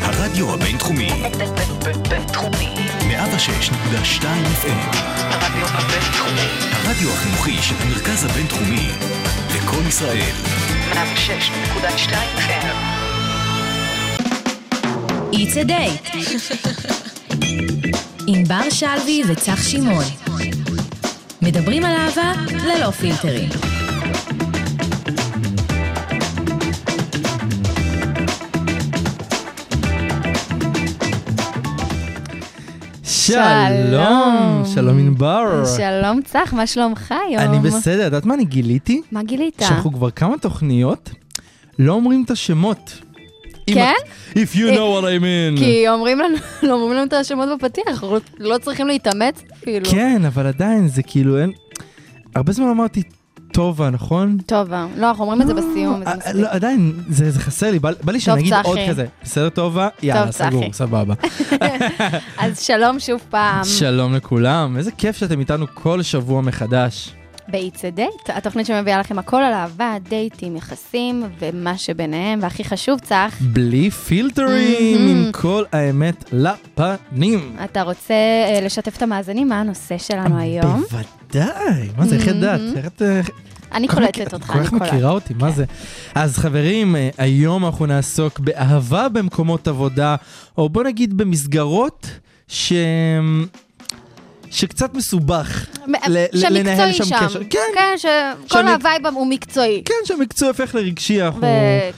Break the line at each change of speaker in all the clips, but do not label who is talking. הרדיו הבינתחומי,
בינתחומי.
106.2 FM,
הרדיו הבינתחומי.
הרדיו החינוכי של המרכז הבינתחומי, לקום ישראל,
106.2 FM.
It's a date. עם בר שלוי וצח שמעון. מדברים על אהבה ללא פילטרים.
שלום, שלום ענבר.
שלום צח, מה שלומך היום?
אני בסדר, את יודעת מה אני גיליתי?
מה גילית?
שאנחנו כבר כמה תוכניות לא אומרים את השמות. אם
כן? כאילו.
את- If you know what I mean.
כי אומרים לנו, לא אומרים לנו את השמות בפתיח, אנחנו לא צריכים להתאמץ כאילו. אפילו.
כן, אבל עדיין זה כאילו אין... הרבה זמן אמרתי טובה, נכון?
טוב, אה, לא, אנחנו אומרים את זה בסיום,
לא,
זה
אה,
מספיק.
לא, עדיין, זה זה חסר לי, בא בא לי שנגיד
צחי.
עוד כזה. בסדר, טובה? יאללה,
צחי.
סגור, סבבה. אה.
אז שלום שוב פעם,
שלום לכולם, איזה כיף שאתם איתנו כל שבוע מחדש.
ב-It's a Date, התוכנית שמביאה לכם הכל על אהבה, דייטים, יחסים ומה שביניהם, והכי חשוב, צח,
בלי פילטרים,
Mhm.
עם כל האמת לפנים.
אתה רוצה אה, לשתף את המאזינים מה הנושא שלנו היום?
בוודאי, מה זה, איך ידעת? איך אה, את... איך-
אני
כל כך
קולטת
מכיר-
אותך,
כל
אני כן.
כך
קולטת.
מכירה אותי, מה זה? אז חברים, אה, היום אנחנו נעסוק באהבה במקומות עבודה, או בוא נגיד במסגרות ש... שקצת מסובך ל- ל- לנהל
שמקצועי
שם
שם.
קשר. כן,
כן, שכל
שמק-
הווייב הוא מקצועי. כן.
כן, שהמקצוע הופך לרגשי, אנחנו...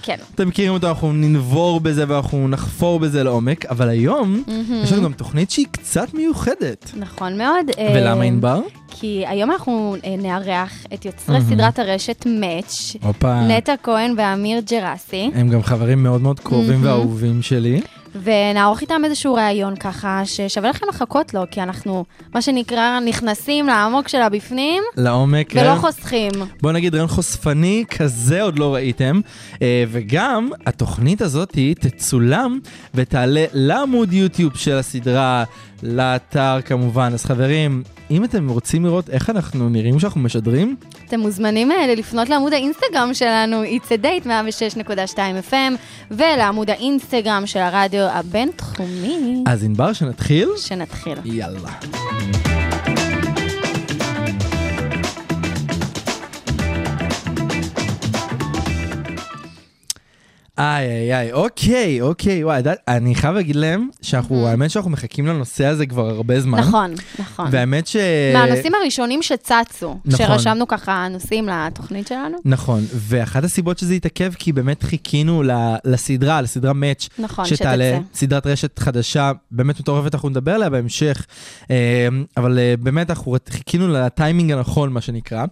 וכן.
אתם מכירים אותו, אנחנו ננבור בזה ואנחנו נחפור בזה לעומק, אבל היום יש לנו גם תוכנית שהיא קצת מיוחדת.
נכון מאוד. אה,
ולמה ענבר?
כי היום אנחנו אה, נארח את יוצרי
מהמם. אה.
סדרת הרשת מאץ',
הופה.
נטע כהן ואמיר ג'רסי,
הם גם חברים מאוד מאוד קרובים
מהמם.
ואהובים שלי.
ונערוך איתם איזשהו ראיון ככה, ששווה לכם לחכות לו, כי אנחנו, מה שנקרא, נכנסים לעמוק שלה בפנים,
לעומק.
ולא
רעיון-
חוסכים.
בוא נגיד רעיון חושפני, כזה עוד לא ראיתם. אה, וגם התוכנית הזאת היא תצולם ותעלה לעמוד יוטיוב של הסדרה, לאתר כמובן. אז חברים, אם אתם רוצים לראות איך אנחנו נראים כשאנחנו משדרים,
אתם מוזמנים אה, לפנות לעמוד האינסטגרם שלנו, It's a date 106.2 FM, ולעמוד האינסטגרם של הרדיו הבינתחומי,
אז ענבר, שנתחיל?
שנתחיל.
יאללה. איי איי איי, אוקיי, אוקיי, וואי, די- אני חייב להגיד להם שאנחנו, האמת שאנחנו מחכים לנושא הזה כבר הרבה זמן.
Mm. נכון, נכון.
והאמת ש...
מהנושאים הראשונים שצצו,
אה, נכון.
שרשמנו ככה נושאים לתוכנית שלנו.
נכון, ואחת הסיבות שזה התעכב, כי באמת חיכינו ל- לסדרה, לסדרה מאץ',
נכון,
שתעלה
שתצא.
סדרת רשת חדשה, באמת מטורפת, אנחנו נדבר עליה בהמשך, אה, אבל אה, באמת אנחנו חיכינו לטיימינג הנכון, מה שנקרא,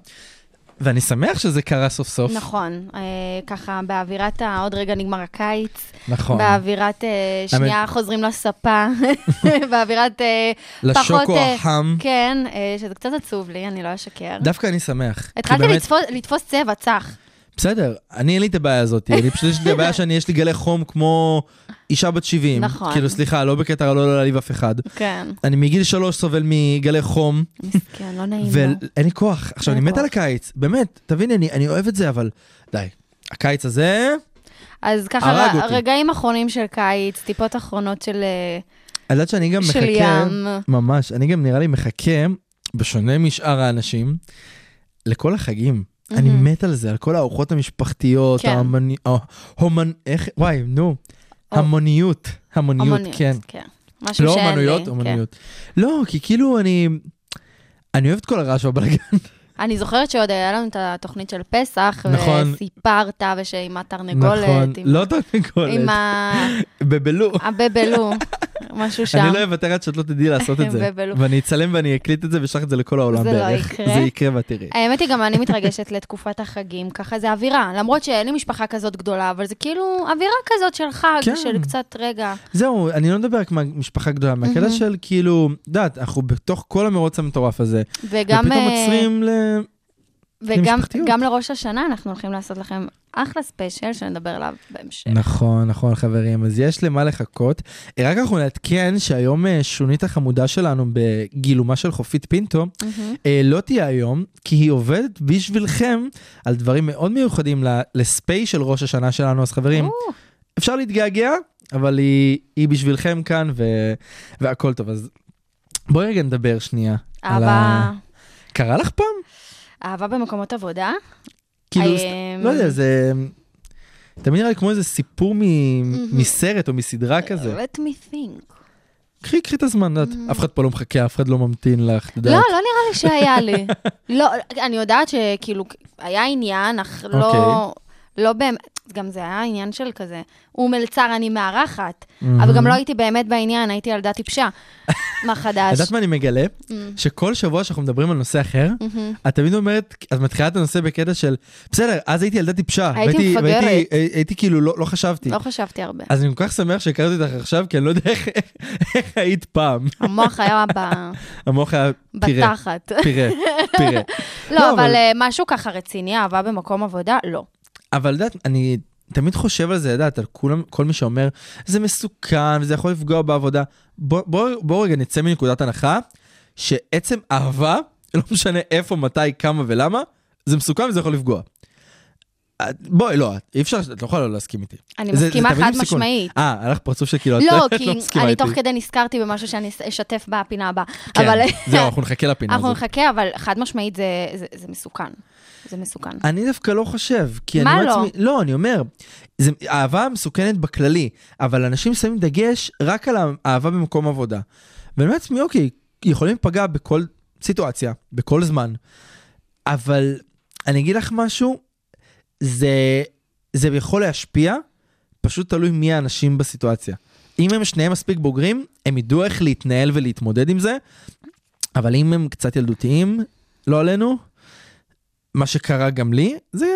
ואני שמח שזה קרה סוף סוף.
נכון, אה, ככה באווירת ה... עוד רגע נגמר הקיץ,
נכון.
באווירת אה, שנייה חוזרים לספה, באווירת אה, פחות...
לשוקו
אה,
החם,
כן, אה, שזה קצת עצוב לי, אני לא אשקר.
דווקא אני שמח. כי
התחלתי
באמת-
לתפוס- לתפוס צבע, צח.
בסדר, אני אין לי את הבעיה הזאת, אני פשוט יש לי הבעיה שאני, יש לי גלי חום כמו אישה בת 70.
נכון.
כאילו, סליחה, לא בקטע, לא לא להעליב אף אחד.
כן,
אני מגיל שלוש סובל מגלי חום.
מסכן, לא נעים לו.
ואין לי כוח. עכשיו,
אין
אני
לי
מת על
כוח.
הקיץ, באמת, תביני, אני- אני אוהב את זה, אבל די. הקיץ הזה,
אז
הרג
ככה,
אותי.
רגעים אחרונים של קיץ, טיפות אחרונות של אה,
את יודעת שאני גם
של
מחכה,
ים.
ממש, אני גם נראה לי מחכה, בשונה משאר האנשים, לכל החגים. אני
מהמם.
מת על זה, על כל הארוחות המשפחתיות,
כן.
ההמוני... אה, הומנ... איך... וואי, נו.
או.
המוניות. המוניות, כן.
כן. משהו
לא
שאין לי,
אומנויות,
כן.
אומנויות. לא, כי כאילו אני... אני אוהב את כל הרעש והבלגן.
אני זוכרת שעוד היה לנו את התוכנית של פסח,
נכון.
וסיפרת, ושעם התרנגולת,
נכון.
עם-
לא תרנגולת.
עם ה-
בבלו.
הבבלו, משהו שם.
אני לא אוותר עד שאת לא תדעי לעשות את זה.
בבלו.
ואני אצלם ואני אקליט את זה ואשלח את זה לכל העולם
זה לא
בערך.
יקרה.
זה יקרה ואת תראי.
האמת היא, גם אני מתרגשת לתקופת החגים, ככה זה אווירה. למרות שאין לי משפחה כזאת גדולה, אבל זה כאילו אווירה כזאת של חג,
כן.
של קצת רגע.
זהו, אני לא מדבר רק מהמשפחה הגדולה, מהקטע
מהמם.
של כאילו, את יודעת, אנחנו בתוך כל המרוץ המטורף הזה.
וגם,
ופתאום
אה,
עוצרים ל...
וגם
למשפחתיות.
גם לראש השנה אנחנו הולכים לעשות לכם אחלה ספיישל שנדבר עליו בהמשך.
נכון, נכון, חברים, אז יש למה לחכות. אה, רק אנחנו נעדכן שהיום אה, שונית החמודה שלנו בגילומה של חופית פינטו,
מהמם.
אה, לא תהיה היום, כי היא עובדת בשבילכם על דברים מאוד מיוחדים ל- לספייס של ראש השנה שלנו, אז חברים,
או,
אפשר להתגעגע, אבל היא, היא בשבילכם כאן ו, והכל טוב. אז בואי רגע נדבר שנייה. על
אהבה,
קרה לך פעם?
אהבה במקומות עבודה?
כאילו,
אמ,
סת- לא יודע, זה... תמיד נראה לי כמו איזה סיפור מ... מסרט או
אה,
מסדרה כזה.
Let me think.
קחי, קחי את הזמן, את יודעת, אף אחד פה לא מחכה, אף אחד לא ממתין לך, את
לא,
יודעת.
לא נראה לי שהיה לי. לא, אני יודעת שכאילו, היה עניין, אך לא...
אוקיי.
לא באמת, גם זה היה עניין של כזה, הוא מלצר, אני מארחת, אבל גם לא הייתי באמת בעניין, הייתי ילדה טיפשה. מה
את
חדש? Mm.
יודעת מה אני מגלה? שכל שבוע שאנחנו מדברים על נושא אחר,
Mm-hmm.
את תמיד אומרת, את מתחילה את הנושא בקטע של, בסדר, אז הייתי ילדה טיפשה.
הייתי
והייתי-
מפגרת."
והייתי- הי- הייתי כאילו, לא לא חשבתי.
לא חשבתי הרבה.
אז אני כל כך שמח שהכרתי אותך עכשיו, כי אני לא יודע איך- איך היית פעם.
המוח היה ב-
המוח היה פירה,
בתחת.
פירה, פירה.
לא, אבל אה, משהו ככה רציני, אהבה במקום עבודה? לא.
אבל יודעת, אני תמיד חושב על זה, יודעת, על כולם, כל מי שאומר, זה מסוכן וזה יכול לפגוע בעבודה. בואו בוא, בוא רגע נצא מנקודת הנחה, שעצם אהבה, לא משנה איפה, מתי, כמה ולמה, זה מסוכן וזה יכול לפגוע. את- בואי, לא, את- אי אפשר, את לא יכולה לא להסכים איתי.
אני
זה- זה
מסכימה
תמיד
חד
עם סיכון.
משמעית.
אה, הלך פרצוף שכאילו, את-
לא,
את
כי
מסכימה
אני
איתי.
תוך כדי נזכרתי במשהו שאני אס- אשתף בפינה הבאה.
כן,
אבל
זהו, אנחנו נחכה לפינה
אנחנו
הזאת.
נחכה, אבל חד משמעית זה- זה זה מסוכן. זה מסוכן.
אני דווקא לא חושב, כי אני
מה
אומר
לא?
לעצמי, לא, אני אומר, זה, אהבה מסוכנת בכללי, אבל אנשים שמים דגש רק על האהבה במקום עבודה. ואני אומר לעצמי, אוקיי, יכולים להיפגע בכל סיטואציה, בכל זמן, אבל אני אגיד לך משהו, זה, זה יכול להשפיע, פשוט תלוי מי האנשים בסיטואציה. אם הם שניהם מספיק בוגרים, הם ידעו איך להתנהל ולהתמודד עם זה, אבל אם הם קצת ילדותיים, לא עלינו, מה שקרה גם לי, זה...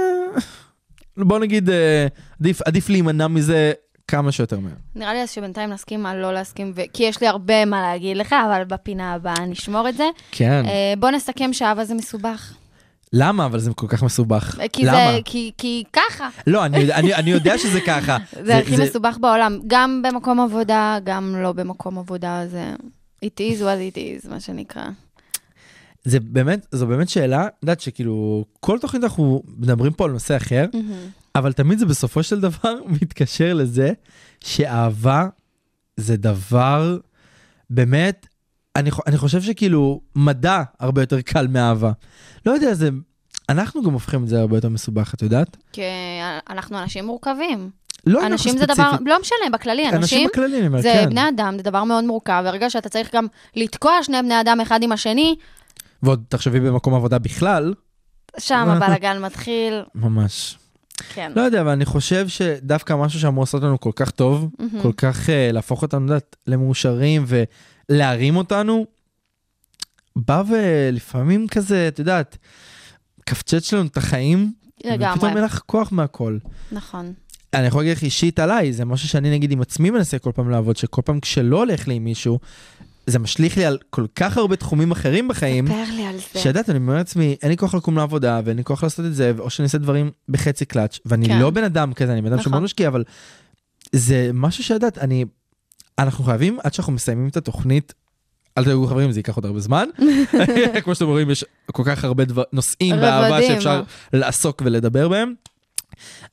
בוא נגיד, אה, עדיף, עדיף להימנע מזה כמה שיותר מהר.
נראה לי אז שבינתיים נסכים על לא להסכים, ו- כי יש לי הרבה מה להגיד לך, אבל בפינה הבאה נשמור את זה.
כן.
אה, בוא נסכם שאהבה זה מסובך.
למה? אבל זה כל כך מסובך.
אה, כי זה-
למה?
כי- כי ככה.
לא, אני, יודע- אני, אני יודע שזה ככה.
זה הכי מסובך בעולם, גם במקום עבודה, גם לא במקום עבודה, זה... It is what it is, מה שנקרא.
זה באמת, זו באמת שאלה, את יודעת שכאילו, כל תוכנית אנחנו מדברים פה על נושא אחר, אבל תמיד זה בסופו של דבר מתקשר לזה שאהבה זה דבר, באמת, אני, חו- אני חושב שכאילו, מדע הרבה יותר קל מאהבה. לא יודע, זה, אנחנו גם הופכים את זה הרבה יותר מסובך, את יודעת?
כי אה, אנחנו אנשים מורכבים.
לא אנחנו
אנשים זה
ספציפית,
דבר, לא משנה, בכללי,
אנשים
אנשים...
בכללי, אני אומר,
זה
כן.
בני אדם, זה דבר מאוד מורכב, ברגע שאתה צריך גם לתקוע שני בני אדם אחד עם השני,
ועוד תחשבי במקום עבודה בכלל,
שם הבלאגן מתחיל,
ממש.
כן.
לא יודע, אבל אני חושב שדווקא משהו שאמור לעשות לנו כל כך טוב,
מהמם.
כל כך uh, להפוך אותנו לדעת, למאושרים ולהרים אותנו, בא ולפעמים כזה, את יודעת, קפצץ לנו את החיים,
לגמרי,
ופתאום אין לך כוח מהכל.
נכון.
אני יכול להגיד לך אישית עליי, זה משהו שאני נגיד עם עצמי מנסה כל פעם לעבוד, שכל פעם כשלא הולך לי עם מישהו, זה משליך לי על כל כך הרבה תחומים אחרים בחיים.
ספר לי על זה.
שידעת, אני אומר לעצמי, אין לי כוח לקום לעבודה, ואין לי כוח לעשות את זה, או שאני עושה דברים בחצי קלאץ', ואני
כן.
לא בן אדם כזה, אני בן אדם
נכון.
שמאוד משקיע, אבל זה משהו שידעת, אני... אנחנו חייבים, עד שאנחנו מסיימים את התוכנית, אל תדאגו חברים, זה ייקח עוד הרבה זמן. כמו שאתם רואים, יש כל כך הרבה דבר, נושאים באהבה
רבדים. אה.
שאפשר לעסוק ולדבר בהם.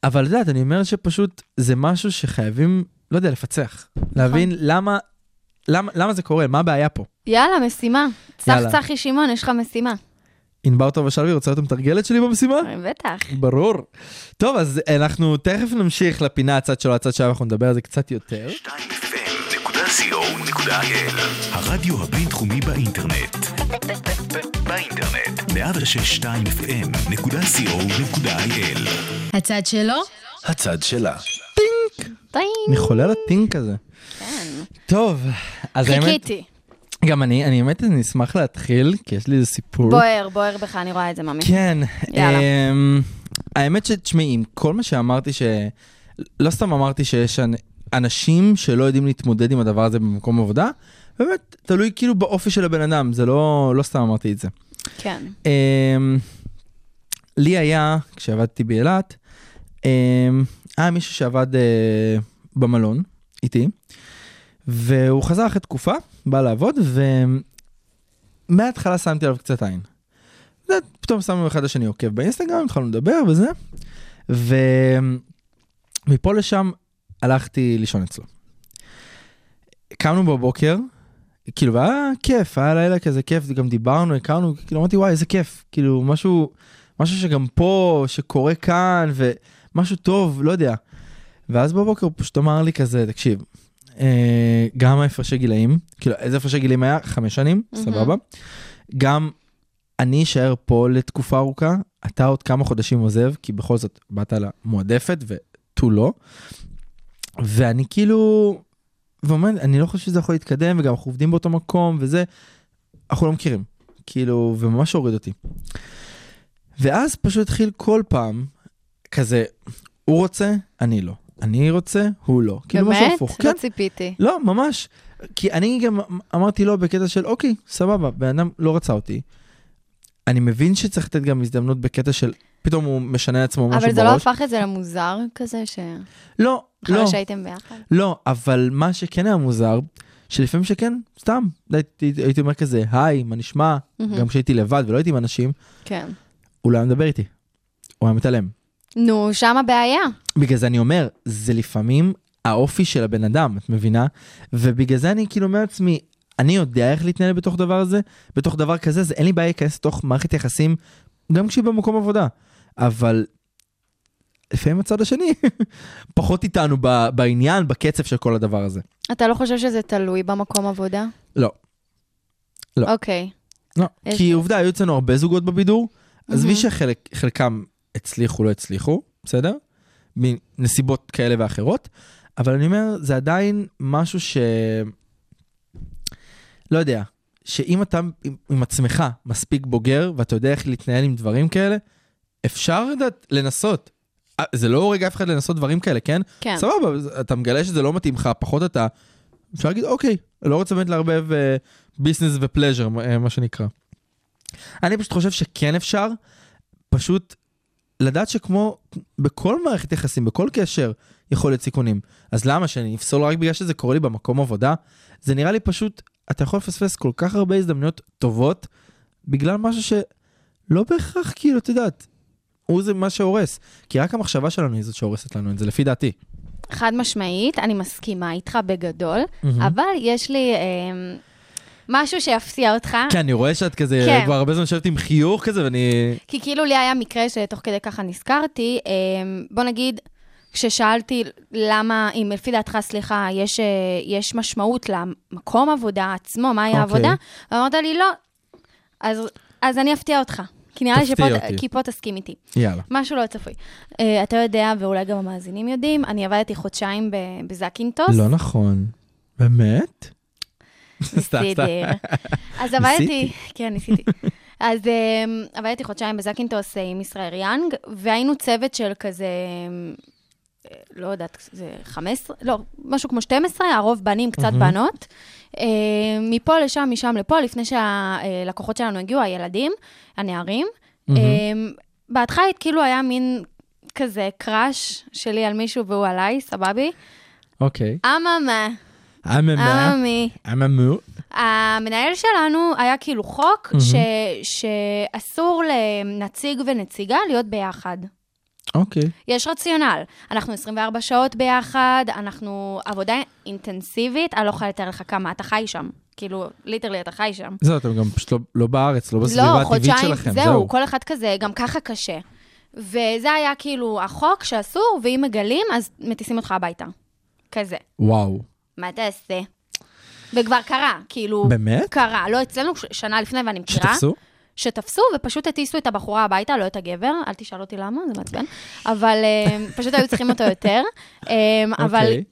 אבל את יודעת, אני אומר שפשוט זה משהו שחייבים, לא יודע, לפצח.
נכון.
להבין למה, למה, למה זה קורה, מה הבעיה פה.
יאללה, משימה. צח
יאללה.
צחי שמעון, יש לך משימה.
ענבר טובה שלוי רוצה להיות המתרגלת שלי במשימה?
בטח.
ברור. טוב, אז אה, אנחנו תכף נמשיך לפינה הצד שלו, הצד שלו, אנחנו נדבר על זה קצת יותר.
2fm.co.il הרדיו הבינתחומי באינטרנט. באינטרנט. 106.2 fm.co.il
הצד שלו,
הצד שלה.
טעים.
מחולל הטינק הזה.
כן.
טוב, אז האמת,
חיכיתי.
גם אני, אני האמת, אני אשמח להתחיל, כי יש לי איזה סיפור.
בוער, בוער בך, אני רואה את זה, ממי.
כן.
יאללה.
אמ, האמת שתשמעי, עם כל מה שאמרתי, ש... לא סתם אמרתי שיש אנ- אנשים שלא יודעים להתמודד עם הדבר הזה במקום עבודה, באמת, תלוי כאילו באופי של הבן אדם, זה לא, לא סתם אמרתי את זה.
כן.
אמ, לי היה, כשעבדתי באילת, אמ, היה מישהו שעבד אה, במלון איתי, והוא חזר אחרי תקופה, בא לעבוד, ומההתחלה שמתי עליו קצת עין. זה, פתאום שמנו אחד לשני עוקב באינסטגרם, התחלנו לדבר וזה, ומפה לשם הלכתי לישון אצלו. קמנו בבוקר, כאילו, והיה כיף, היה לילה כזה כיף, גם דיברנו, הכרנו, כאילו, אמרתי, וואי, איזה כיף, כאילו, משהו, משהו שגם פה, שקורה כאן, ומשהו טוב, לא יודע. ואז בבוקר הוא פשוט אמר לי כזה, תקשיב, אה, גם ההפרשי גילאים, כאילו, איזה הפרשי גילאים היה? חמש שנים,
מהמם.
סבבה. גם אני אשאר פה לתקופה ארוכה, אתה עוד כמה חודשים עוזב, כי בכל זאת באת למועדפת ותו לא. ואני כאילו, ואומר, אני לא חושב שזה יכול להתקדם, וגם אנחנו עובדים באותו מקום וזה, אנחנו לא מכירים. כאילו, וממש הוריד אותי. ואז פשוט התחיל כל פעם, כזה, הוא רוצה, אני לא. אני רוצה, הוא לא. כאילו משהו
באמת?
הפוך.
לא
כן,
ציפיתי.
לא, ממש. כי אני גם אמרתי לו בקטע של, אוקיי, סבבה, בן אדם לא רצה אותי. אני מבין שצריך לתת גם הזדמנות בקטע של, פתאום הוא משנה לעצמו משהו בראש.
אבל זה לא הפך את זה למוזר כזה, שאחרי
לא, לא.
שהייתם ביחד?
לא, אבל מה שכן היה מוזר, שלפעמים שכן, סתם, הייתי, הייתי אומר כזה, היי, מה נשמע?
מהמם.
גם כשהייתי לבד ולא הייתי עם אנשים,
כן.
הוא לא היה מדבר איתי. הוא היה מתעלם.
נו, שם הבעיה.
בגלל זה אני אומר, זה לפעמים האופי של הבן אדם, את מבינה? ובגלל זה אני כאילו אומר לעצמי, אני יודע איך להתנהל בתוך דבר הזה, בתוך דבר כזה, אז אין לי בעיה להיכנס לתוך מערכת יחסים, גם כשהיא במקום עבודה. אבל לפעמים הצד השני פחות איתנו ב- בעניין, בקצב של כל הדבר הזה.
אתה לא חושב שזה תלוי במקום עבודה?
לא. לא.
אוקיי.
לא,
יש-
כי עובדה, היו אצלנו הרבה זוגות בבידור, עזבי
מהמם.
שחלקם הצליחו, לא הצליחו, בסדר? מנסיבות כאלה ואחרות, אבל אני אומר, זה עדיין משהו ש... לא יודע, שאם אתה עם, עם עצמך מספיק בוגר, ואתה יודע איך להתנהל עם דברים כאלה, אפשר לדעת, לנסות. אה, זה לא הורג אף אחד לנסות דברים כאלה, כן?
כן.
סבבה, אז אתה מגלה שזה לא מתאים לך, פחות אתה... אפשר להגיד, אוקיי, לא רוצה באמת לערבב אה, ביזנס ופלז'ר, מה- אה, מה שנקרא. אני פשוט חושב שכן אפשר, פשוט לדעת שכמו בכל מערכת יחסים, בכל קשר, יכול להיות סיכונים. אז למה שאני אפסול רק בגלל שזה קורה לי במקום עבודה? זה נראה לי פשוט, אתה יכול לפספס כל כך הרבה הזדמנויות טובות, בגלל משהו שלא בהכרח, כאילו, את יודעת, הוא זה מה שהורס. כי רק המחשבה שלנו היא זאת שהורסת לנו את זה, לפי דעתי.
חד משמעית, אני מסכימה איתך בגדול, אבל יש לי אה, משהו שיפתיע אותך.
כן, אני רואה שאת כזה,
כן.
כבר הרבה זמן יושבת עם חיוך כזה, ואני...
כי כאילו לי היה מקרה שתוך כדי ככה נזכרתי, אה, בוא נגיד, כששאלתי למה, אם לפי דעתך, סליחה, יש, אה, יש משמעות למקום עבודה עצמו, מהי
אוקיי.
העבודה, אמרת לי, לא. אז, אז אני אפתיע אותך. כי נראה לי שפה,
תפתיע אותי.
כי פה תסכים איתי.
יאללה.
משהו לא צפוי. אה, אתה יודע, ואולי גם המאזינים יודעים, אני עבדתי חודשיים ב- בזקינטוס.
לא נכון. באמת? סתם, סתם.
בסדר. אז עבדתי, כן, ניסיתי. אז אמ, עבדתי חודשיים בזקינטוס אה, עם ישראל יאנג, והיינו צוות של כזה, אמ, אה, לא יודעת, זה 15, לא, משהו כמו 12, הרוב בנים, קצת בנות. אה, מפה לשם, משם לפה, לפני שהלקוחות שלנו הגיעו, הילדים, הנערים. אמ, בהתחלה כאילו היה מין כזה קראש שלי על מישהו והוא עליי, סבבי.
אוקיי.
אממה,
אממה.
אממי.
אממו.
המנהל שלנו היה כאילו חוק ש, שאסור לנציג ונציגה להיות ביחד.
אוקיי.
יש רציונל. אנחנו 24 שעות ביחד, אנחנו עבודה אינטנסיבית, אני לא יכולה לתאר לך כמה, אתה חי שם. כאילו, ליטרלי אתה חי שם.
זהו, אתם גם פשוט לא- לא בארץ, לא בסביבה
לא,
הטבעית
חודשיים,
שלכם,
זהו, כל אחד כזה, גם ככה קשה. וזה היה כאילו החוק שאסור, ואם מגלים, אז מטיסים אותך הביתה. כזה.
וואו.
מה תעשה? וכבר קרה, כאילו...
באמת?
קרה. לא אצלנו, ש- שנה לפני, ואני מכירה.
שתפסו?
שתפסו ופשוט הטיסו את הבחורה הביתה, לא את הגבר, אל תשאל אותי למה, זה מעצבן. אבל אה, פשוט היו צריכים אותו יותר. אה, אבל
אוקיי.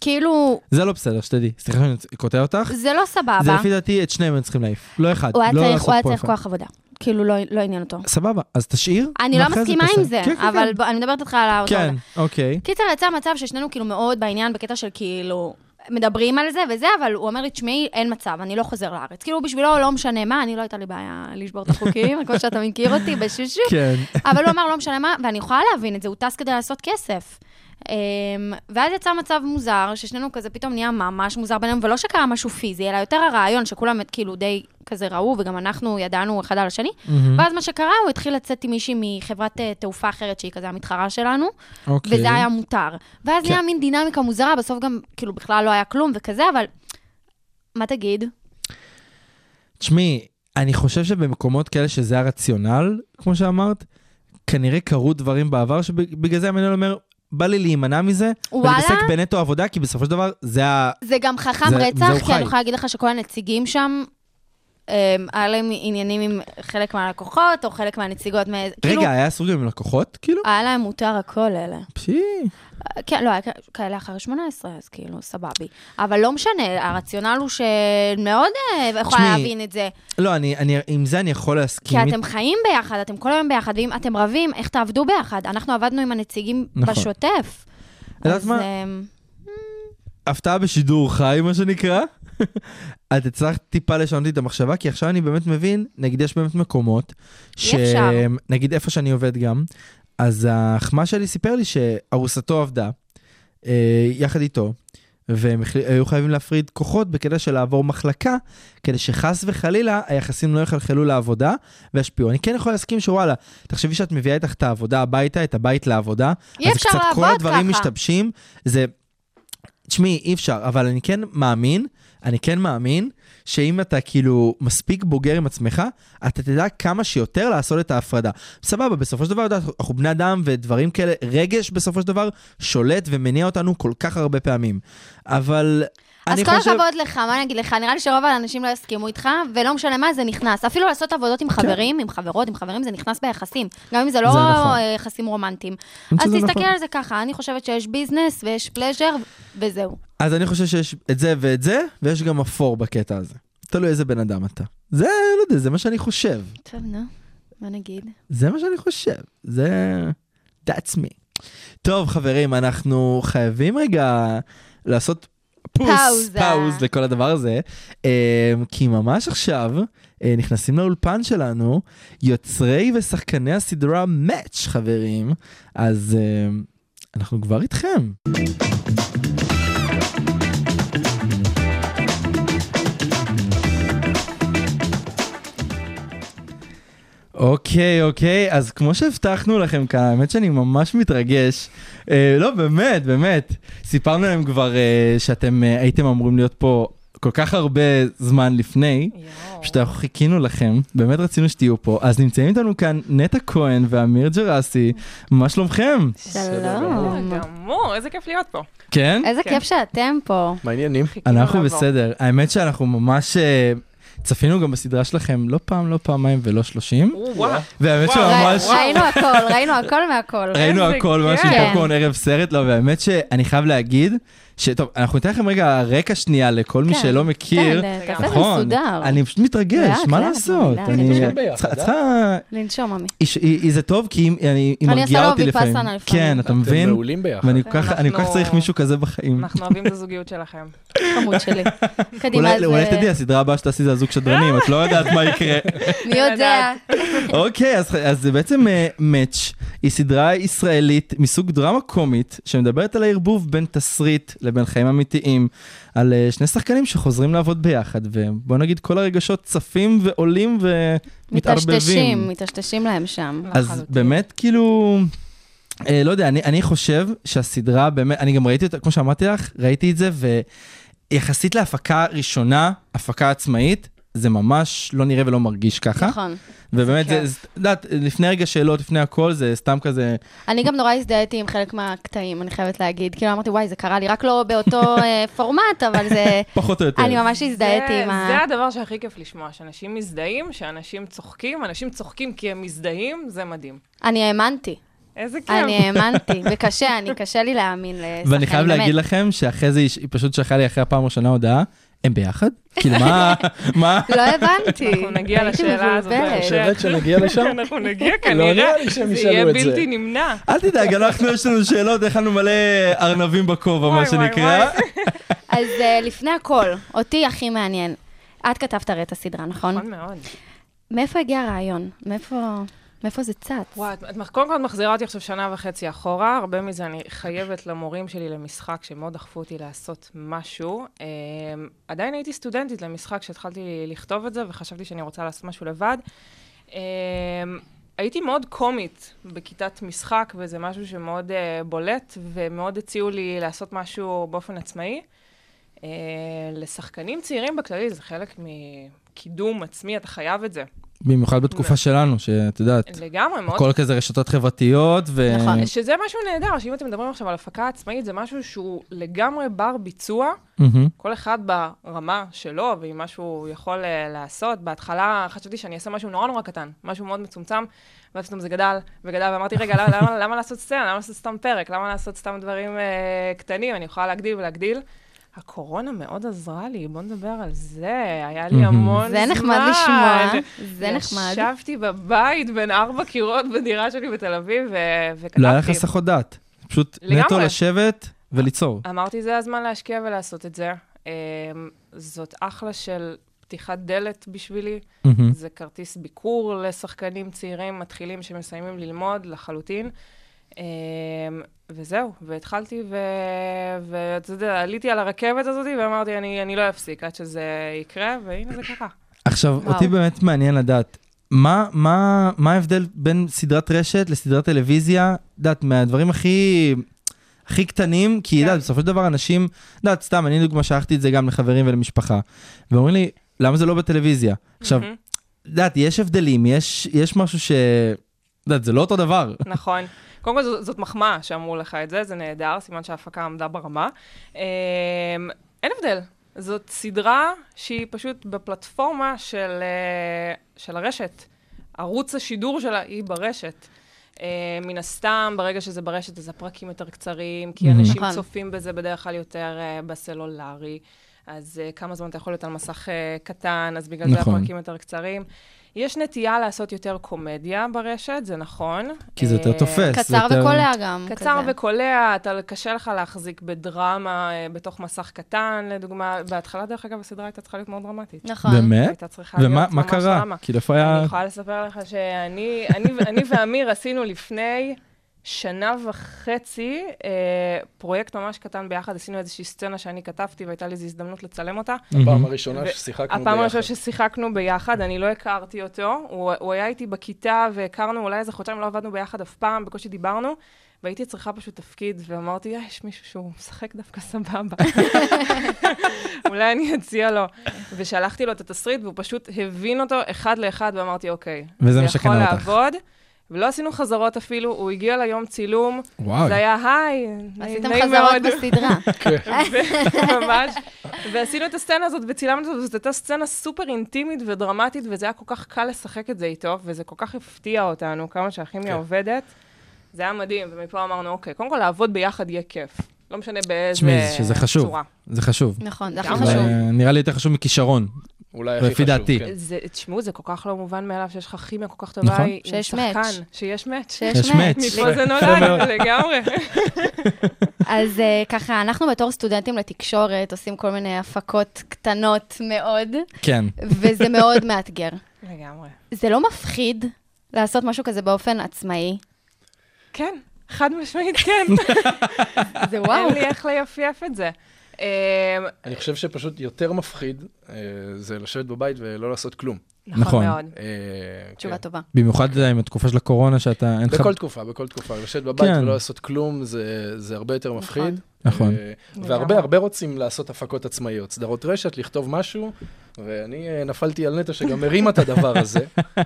כאילו,
זה לא בסדר, שתדעי. סליחה שאני קוטע אותך.
זה לא
זה
סבבה.
לפי דעתי, את שניהם היו צריכים להעיף. לא אחד.
הוא היה
לא
צריך-
לעשות
הוא היה
פה
צריך
אחד.
כוח עבודה. כאילו, לא לא עניין אותו.
סבבה, אז תשאיר.
אני לא
ואחרי זה
מסכימה עם
תעשה.
זה,
כן, כן,
אבל
כן.
בוא- אני מדברת איתך על האותו.
כן, אוקיי.
קיצר, יצא מצב ששנינו כאילו מאוד בעניין, בקטע של כאילו, מדברים על זה וזה, אבל הוא אומר לי, תשמעי, אין מצב, אני לא חוזר לארץ. כאילו, בשבילו לא משנה מה, אני לא הייתה לי בעיה לשבור את החוקים, כמו שאתה מכיר אותי, בשושו.
כן.
אבל הוא אמר, לא משנה מה, ואני יכולה להבין את זה, הוא טס כדי לעשות כסף. אמ, ואז יצא מצב מוזר, ששנינו כזה פתאום נהיה ממש מוזר בינינו, ולא שקרה משהו פיזי, אלא יותר הרעיון שכולם כאילו די כזה ראו, וגם אנחנו ידענו אחד על השני.
מהמם.
ואז מה שקרה, הוא התחיל לצאת עם מישהי מחברת אה, תעופה אחרת, שהיא כזה המתחרה שלנו,
אוקיי.
וזה היה מותר. ואז
כן.
נהיה מין דינמיקה מוזרה, בסוף גם כאילו בכלל לא היה כלום וכזה, אבל מה תגיד?
תשמעי, אני חושב שבמקומות כאלה שזה הרציונל, כמו שאמרת, כנראה קרו דברים בעבר שבגלל זה המנהל אומר, בא לי להימנע מזה,
וואלה?
ולהתעסק בנטו עבודה, כי בסופו של דבר זה ה...
זה גם חכם
זה- זהו
רצח, כי
חי.
אני יכולה להגיד לך שכל הנציגים שם, אמ, היה להם עניינים עם חלק מהלקוחות, או חלק מהנציגות, מ- כאילו, אה.
רגע, היה אסור גם עם לקוחות? כאילו?
היה להם מותר הכל אלה.
פשי.
כן, לא, היה כ- כאלה אחרי 18, אז כאילו, סבבי. אבל לא משנה, הרציונל הוא שמאוד אה, יכולה
תשמעי,
להבין את זה.
לא, אני, אני, עם זה אני יכול
כי
להסכים.
אתם חיים ביחד, אתם כל היום ביחד, ואם אתם רבים, איך תעבדו ביחד? אנחנו עבדנו עם הנציגים
נכון.
בשוטף.
את יודעת
אז,
מה?
אמ,
הפתעה בשידור חי, מה שנקרא. את הצלחת טיפה לשנות לי את המחשבה, כי עכשיו אני באמת מבין, נגיד יש באמת מקומות, ש...
אי אפשר.
נגיד איפה שאני עובד גם, אז האחמ"ש שלי סיפר לי שארוסתו עבדה, אה, יחד איתו, והם החל- היו חייבים להפריד כוחות בכדי שלעבור מחלקה, כדי שחס וחלילה היחסים לא יחלחלו לעבודה וישפיעו. אני כן יכול להסכים שוואלה, תחשבי שאת מביאה איתך את העבודה הביתה, את הבית לעבודה,
אי
אז
אפשר
קצת כל
לעבוד
הדברים
ככה.
משתבשים, זה... תשמעי, אי אפשר, אבל אני כן מאמין, אני כן מאמין, שאם אתה כאילו מספיק בוגר עם עצמך, אתה תדע כמה שיותר לעשות את ההפרדה. סבבה, בסופו של דבר, אתה יודע, אנחנו בני אדם ודברים כאלה, רגש בסופו של דבר שולט ומניע אותנו כל כך הרבה פעמים. אבל
אז
אני
כל
חושב...
הכבוד לך, מה אני אגיד לך? נראה לי שרוב האנשים לא יסכימו איתך, ולא משנה מה, זה נכנס. אפילו לעשות עבודות עם חברים, עם חברות, עם חברים, זה נכנס ביחסים. גם אם זה לא
כן. זה נכון.
אה, יחסים רומנטיים.
אני חושב
אז
שזה
תסתכל
נכון.
על זה ככה, אני חושבת שיש ביזנס ויש פלז'ר, וזהו.
אז אני חושב שיש את זה ואת זה, ויש גם אפור בקטע הזה. תלוי איזה בן אדם אתה. זה, לא יודע, זה מה שאני חושב.
טוב, נו, מה נגיד?
זה מה שאני חושב, זה... That's me. טוב, חברים, אנחנו חייבים רגע לעשות פוס,
פאוזה.
פאוז לכל הדבר הזה, אה, כי ממש עכשיו אה, נכנסים לאולפן שלנו יוצרי ושחקני הסדרה Match, חברים, אז אה, אנחנו כבר איתכם. אוקיי, אוקיי, אז כמו שהבטחנו לכם כאן, האמת שאני ממש מתרגש. אה, לא, באמת, באמת. סיפרנו להם כבר אה, שאתם אה, הייתם אמורים להיות פה כל כך הרבה זמן לפני, פשוט אנחנו חיכינו לכם, באמת רצינו שתהיו פה. אז נמצאים איתנו כאן נטע כהן ואמיר ג'רסי, מה שלומכם?
שלום.
גמור, איזה כיף להיות פה.
כן?
איזה
כן.
כיף שאתם פה.
מעניינים.
חיכינו
אנחנו
לבוא.
בסדר. האמת שאנחנו ממש... אה, צפינו גם בסדרה שלכם לא פעם, לא פעמיים ולא שלושים,
או, וואו.
והאמת
וואו,
שממש...
וואו.
ראינו הכל, ראינו הכל מהכל. כן,
ראינו
איזה
הכל, ממש עם
כיף.
פופקורן ערב סרט, לא, והאמת שאני חייב להגיד, שטוב, אנחנו ניתן לכם רגע רקע שנייה לכל מי
כן,
שלא מכיר.
כן, תעשה את זה
נכון,
מסודר.
אני פשוט מתרגש,
לאט,
מה
לאט,
לעשות?
לאט.
אני
נתחיל ביחד,
צריכה-
אה?
צריכה...
לנשום, עמי.
היא- היא היא- זה טוב, כי היא- אני- היא
אני
מרגיעה
עושה לו
אותי לפעמים.
ויפאסנה לפעמים.
כן, אתה
אתם
מבין?
מעולים ביחד.
ואני כל כך- אני כל כך
אנחנו-
צריך מישהו כזה בחיים.
אנחנו אוהבים את הזוגיות שלכם.
חמוד שלי. קדימה,
אולי
אז,
אולי
אה,
תדעי, הסדרה הבאה שתעשי זה הזוג שדרנים, את לא יודעת מה יקרה.
מי יודע?
אוקיי, אז, אז זה בעצם מאץ', היא סדרה ישראלית מסוג דרמה קומית, שמדברת על הערבוב בין תסריט לבין חיים אמיתיים, על אה, שני שחקנים שחוזרים לעבוד ביחד, ובוא נגיד כל הרגשות צפים ועולים
מטשטשים,
ומתערבבים.
מטשטשים להם שם.
אז
לחלוטין.
באמת, כאילו... אה, לא יודע, אני, אני חושב שהסדרה באמת, אני גם ראיתי אותה, כמו שאמרתי לך, ראיתי את זה, ויחסית להפקה ראשונה, הפקה עצמאית, זה ממש לא נראה ולא מרגיש ככה.
נכון.
ובאמת, זה,
כן.
זה- את יודעת, לפני רגע שאלות, לפני הכל, זה סתם כזה,
אני גם נורא הזדהיתי עם חלק מהקטעים, אני חייבת להגיד. כאילו, אמרתי, וואי, זה קרה לי רק לא באותו אה, פורמט, אבל זה...
פחות או יותר.
אני ממש הזדהיתי
זה-
עם ה...
זה הדבר שהכי כיף לשמוע, שאנשים מזדהים, שאנשים צוחקים, אנשים צוחקים כי הם מזדהים, זה מדהים.
אני האמנתי.
איזה כיף.
אני האמנתי. וקשה, אני, קשה לי להאמין לשחקנים.
ואני חייב להגיד
באמת.
לכם שאחרי זה היא ש- היא פשוט שלחה לי אחרי הפעם הראשונה הודעה, הם ביחד? כאילו, מה? מה?
לא הבנתי.
אנחנו נגיע
הייתי
לשאלה הזאת
מבולבלת.
בהמשך.
חושבת שנגיע לשם?
אנחנו נגיע
לא
כנראה,
נראה לי שהם
זה
ישאלו
יהיה
את זה.
בלתי נמנע.
אל תדאג, אנחנו יש לנו שאלות, הכנו מלא ארנבים בכובע,
וואי,
מה
וואי,
שנקרא.
אז אה, לפני הכל, אותי הכי מעניין. את כתבת הרי את הסדרה, נכון?
נכון מאוד.
מאיפה הגיע הרעיון? מאיפה... מאיפה זה צץ?
וואי, את- את מח- קודם כל את מחזירה אותי עכשיו שנה וחצי אחורה, הרבה מזה אני חייבת למורים שלי למשחק, שמאוד דחפו אותי לעשות משהו. אמ, עדיין הייתי סטודנטית למשחק כשהתחלתי לכתוב את זה, וחשבתי שאני רוצה לעשות משהו לבד. אמ, הייתי מאוד קומית בכיתת משחק, וזה משהו שמאוד אה, בולט, ומאוד הציעו לי לעשות משהו באופן עצמאי. אה, לשחקנים צעירים בכללי, זה חלק מקידום עצמי, אתה חייב את זה.
במיוחד בתקופה שלנו, שאת יודעת,
לגמרי, מאוד
הכל כזה רשתות חברתיות, ו...
נכון.
שזה משהו נהדר, שאם אתם מדברים עכשיו על הפקה עצמאית, זה משהו שהוא לגמרי בר ביצוע,
מהמם.
כל אחד ברמה שלו ועם מה שהוא יכול אה, לעשות. בהתחלה חשבתי שאני אעשה משהו נורא נורא קטן, משהו מאוד מצומצם, ואז פתאום זה גדל וגדל, ואמרתי, רגע, למה, למה, למה לעשות סצנה? למה לעשות סתם פרק? למה לעשות סתם דברים אה, קטנים? אני יכולה להגדיל ולהגדיל. הקורונה מאוד עזרה לי, בואו נדבר על זה. היה לי
מהמם.
המון
זה
זמן.
נחמד לשמוע, זה נחמד.
ישבתי בבית בין ארבע קירות בדירה שלי בתל אביב, ו- וכתבתי.
לא היה לך הסחות דעת, פשוט נטו
לגמרי.
לשבת וליצור.
אמרתי, זה הזמן להשקיע ולעשות את זה. אמ, זאת אחלה של פתיחת דלת בשבילי.
מהמם.
זה כרטיס ביקור לשחקנים צעירים מתחילים שמסיימים ללמוד לחלוטין. אמ, וזהו, והתחלתי, ו- ואתה יודע, עליתי על הרכבת הזאת ואמרתי, אני, אני לא אפסיק עד שזה יקרה, והנה זה קרה.
עכשיו,
וואו.
אותי באמת מעניין לדעת, מה, מה, מה ההבדל בין סדרת רשת לסדרת טלוויזיה? את יודעת, מהדברים הכי... הכי קטנים, כי את
כן.
יודעת, בסופו של דבר אנשים, את יודעת, סתם, אני דוגמה שלחתי את זה גם לחברים ולמשפחה, ואומרים לי, למה זה לא בטלוויזיה? עכשיו,
מהמם.
את יודעת, יש הבדלים, יש, יש משהו ש... את יודעת, זה לא אותו דבר.
נכון. קודם כל, זאת, זאת מחמאה שאמרו לך את זה, זה נהדר, סימן שההפקה עמדה ברמה. אמ, אין הבדל. זאת סדרה שהיא פשוט בפלטפורמה של, אה, של הרשת. ערוץ השידור שלה היא ברשת. אה, מן הסתם, ברגע שזה ברשת, אז הפרקים יותר קצרים, כי
Mhm.
אנשים
נכון.
צופים בזה בדרך כלל יותר אה, בסלולרי. אז אה, כמה זמן אתה יכול להיות על מסך אה, קטן, אז בגלל זה
נכון.
הפרקים יותר קצרים. יש נטייה לעשות יותר קומדיה ברשת, זה נכון.
כי זה יותר
אה,
תופס. זה
קצר
יותר-
וקולע גם.
קצר
כזה.
וקולע, אתה קשה לך להחזיק בדרמה אה, בתוך מסך קטן, לדוגמה. בהתחלה, דרך אגב, הסדרה הייתה צריכה להיות מאוד דרמטית.
נכון.
באמת?
הייתה צריכה
ומה
להיות
מה
ממש
קרה?
דרמה.
כאילו, איפה
אני
היה...
יכולה לספר לך שאני אני ו- אני ואמיר עשינו לפני שנה וחצי אה, פרויקט ממש קטן ביחד, עשינו איזושהי סצנה שאני כתבתי והייתה לי איזו הזדמנות לצלם אותה.
הפעם הראשונה
ו-
ששיחקנו ביחד.
הפעם הראשונה ששיחקנו ביחד, אני לא הכרתי אותו, הוא, הוא היה איתי בכיתה והכרנו אולי איזה חודשיים, לא עבדנו ביחד אף פעם, בקושי דיברנו, והייתי צריכה פשוט תפקיד, ואמרתי, "אה, יש מישהו שהוא משחק דווקא סבבה. אולי אני אציע לו.
אוקיי.
ושלחתי לו את התסריט, והוא פשוט הבין אותו אחד לאחד, ואמרתי, אוקיי,
וזה מה
זה יכול
שקנה אותך."
לעבוד. ולא עשינו חזרות אפילו, הוא הגיע ליום צילום,
וואו.
זה היה היי,
עשיתם
נעים
חזרות
מאוד."
בסדרה.
ממש. ועשינו את הסצנה הזאת וצילמנו את זה, וזאת הייתה סצנה סופר אינטימית ודרמטית, וזה היה כל כך קל לשחק את זה איתו, וזה כל כך הפתיע אותנו, כמה
כן.
שהכימיה עובדת. זה היה מדהים, ומפה אמרנו, אוקיי, קודם כל לעבוד ביחד יהיה כיף. לא משנה באיזה צורה.
תשמעי, שזה חשוב. זה חשוב.
נכון, זה הכי
גם
חשוב.
זה נראה לי יותר חשוב מכישרון.
אולי הכי
לפי
חשוב,
דעתי.
כן.
זה, תשמעו, זה כל כך לא מובן מאליו שיש לך כימיה כל כך טובה
נכון.
עם
שיש
שחקן,
match.
שיש מאץ'.
שיש
יש
מאץ'.
match.
מפה זה
מאוד.
נולד, לגמרי.
אז אה, ככה, אנחנו בתור סטודנטים לתקשורת עושים כל מיני הפקות קטנות מאוד,
כן.
וזה מאוד מאתגר.
לגמרי.
זה לא מפחיד לעשות משהו כזה באופן עצמאי.
כן, חד משמעית כן.
זה
אין
וואו.
לי איך ליפייף את זה. אמ,
אני חושב שפשוט יותר מפחיד אה, זה לשבת בבית ולא לעשות כלום.
נכון.
נכון מאוד.
אה,
תשובה
כן.
טובה.
במיוחד זה עם התקופה של הקורונה, שאתה... אין לך...
בכל תקופה, בכל תקופה. לשבת בבית
כן.
ולא לעשות כלום זה זה הרבה יותר מפחיד.
נכון.
אה, והרבה הרבה רוצים לעשות הפקות עצמאיות. סדרות רשת, לכתוב משהו, ואני אה, נפלתי על נטע שגם הרימה את הדבר הזה. אה,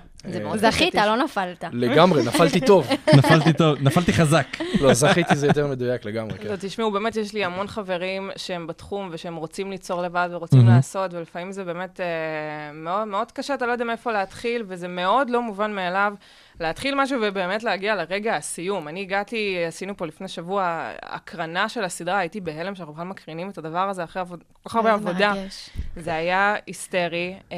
זכית, לא נפלת.
לגמרי, נפלתי טוב.
נפלתי טוב, נפלתי חזק.
לא, זכיתי זה יותר מדויק לגמרי, כן.
לא, תשמעו, באמת יש לי המון חברים שהם בתחום ושהם רוצים ליצור לבד ורוצים לעשות, ולפעמים זה באמת אה, מאוד מאוד קשה, אתה לא יודע מאיפה להתחיל, וזה מאוד לא מובן מאליו להתחיל משהו ובאמת להגיע לרגע הסיום. אני הגעתי, עשינו פה לפני שבוע הקרנה של הסדרה, הייתי בהלם שאנחנו בכלל מקרינים את הדבר הזה אחרי עבוד- כל כך הרבה
איזה
עבודה.
מרגש.
זה היה היסטרי. אה,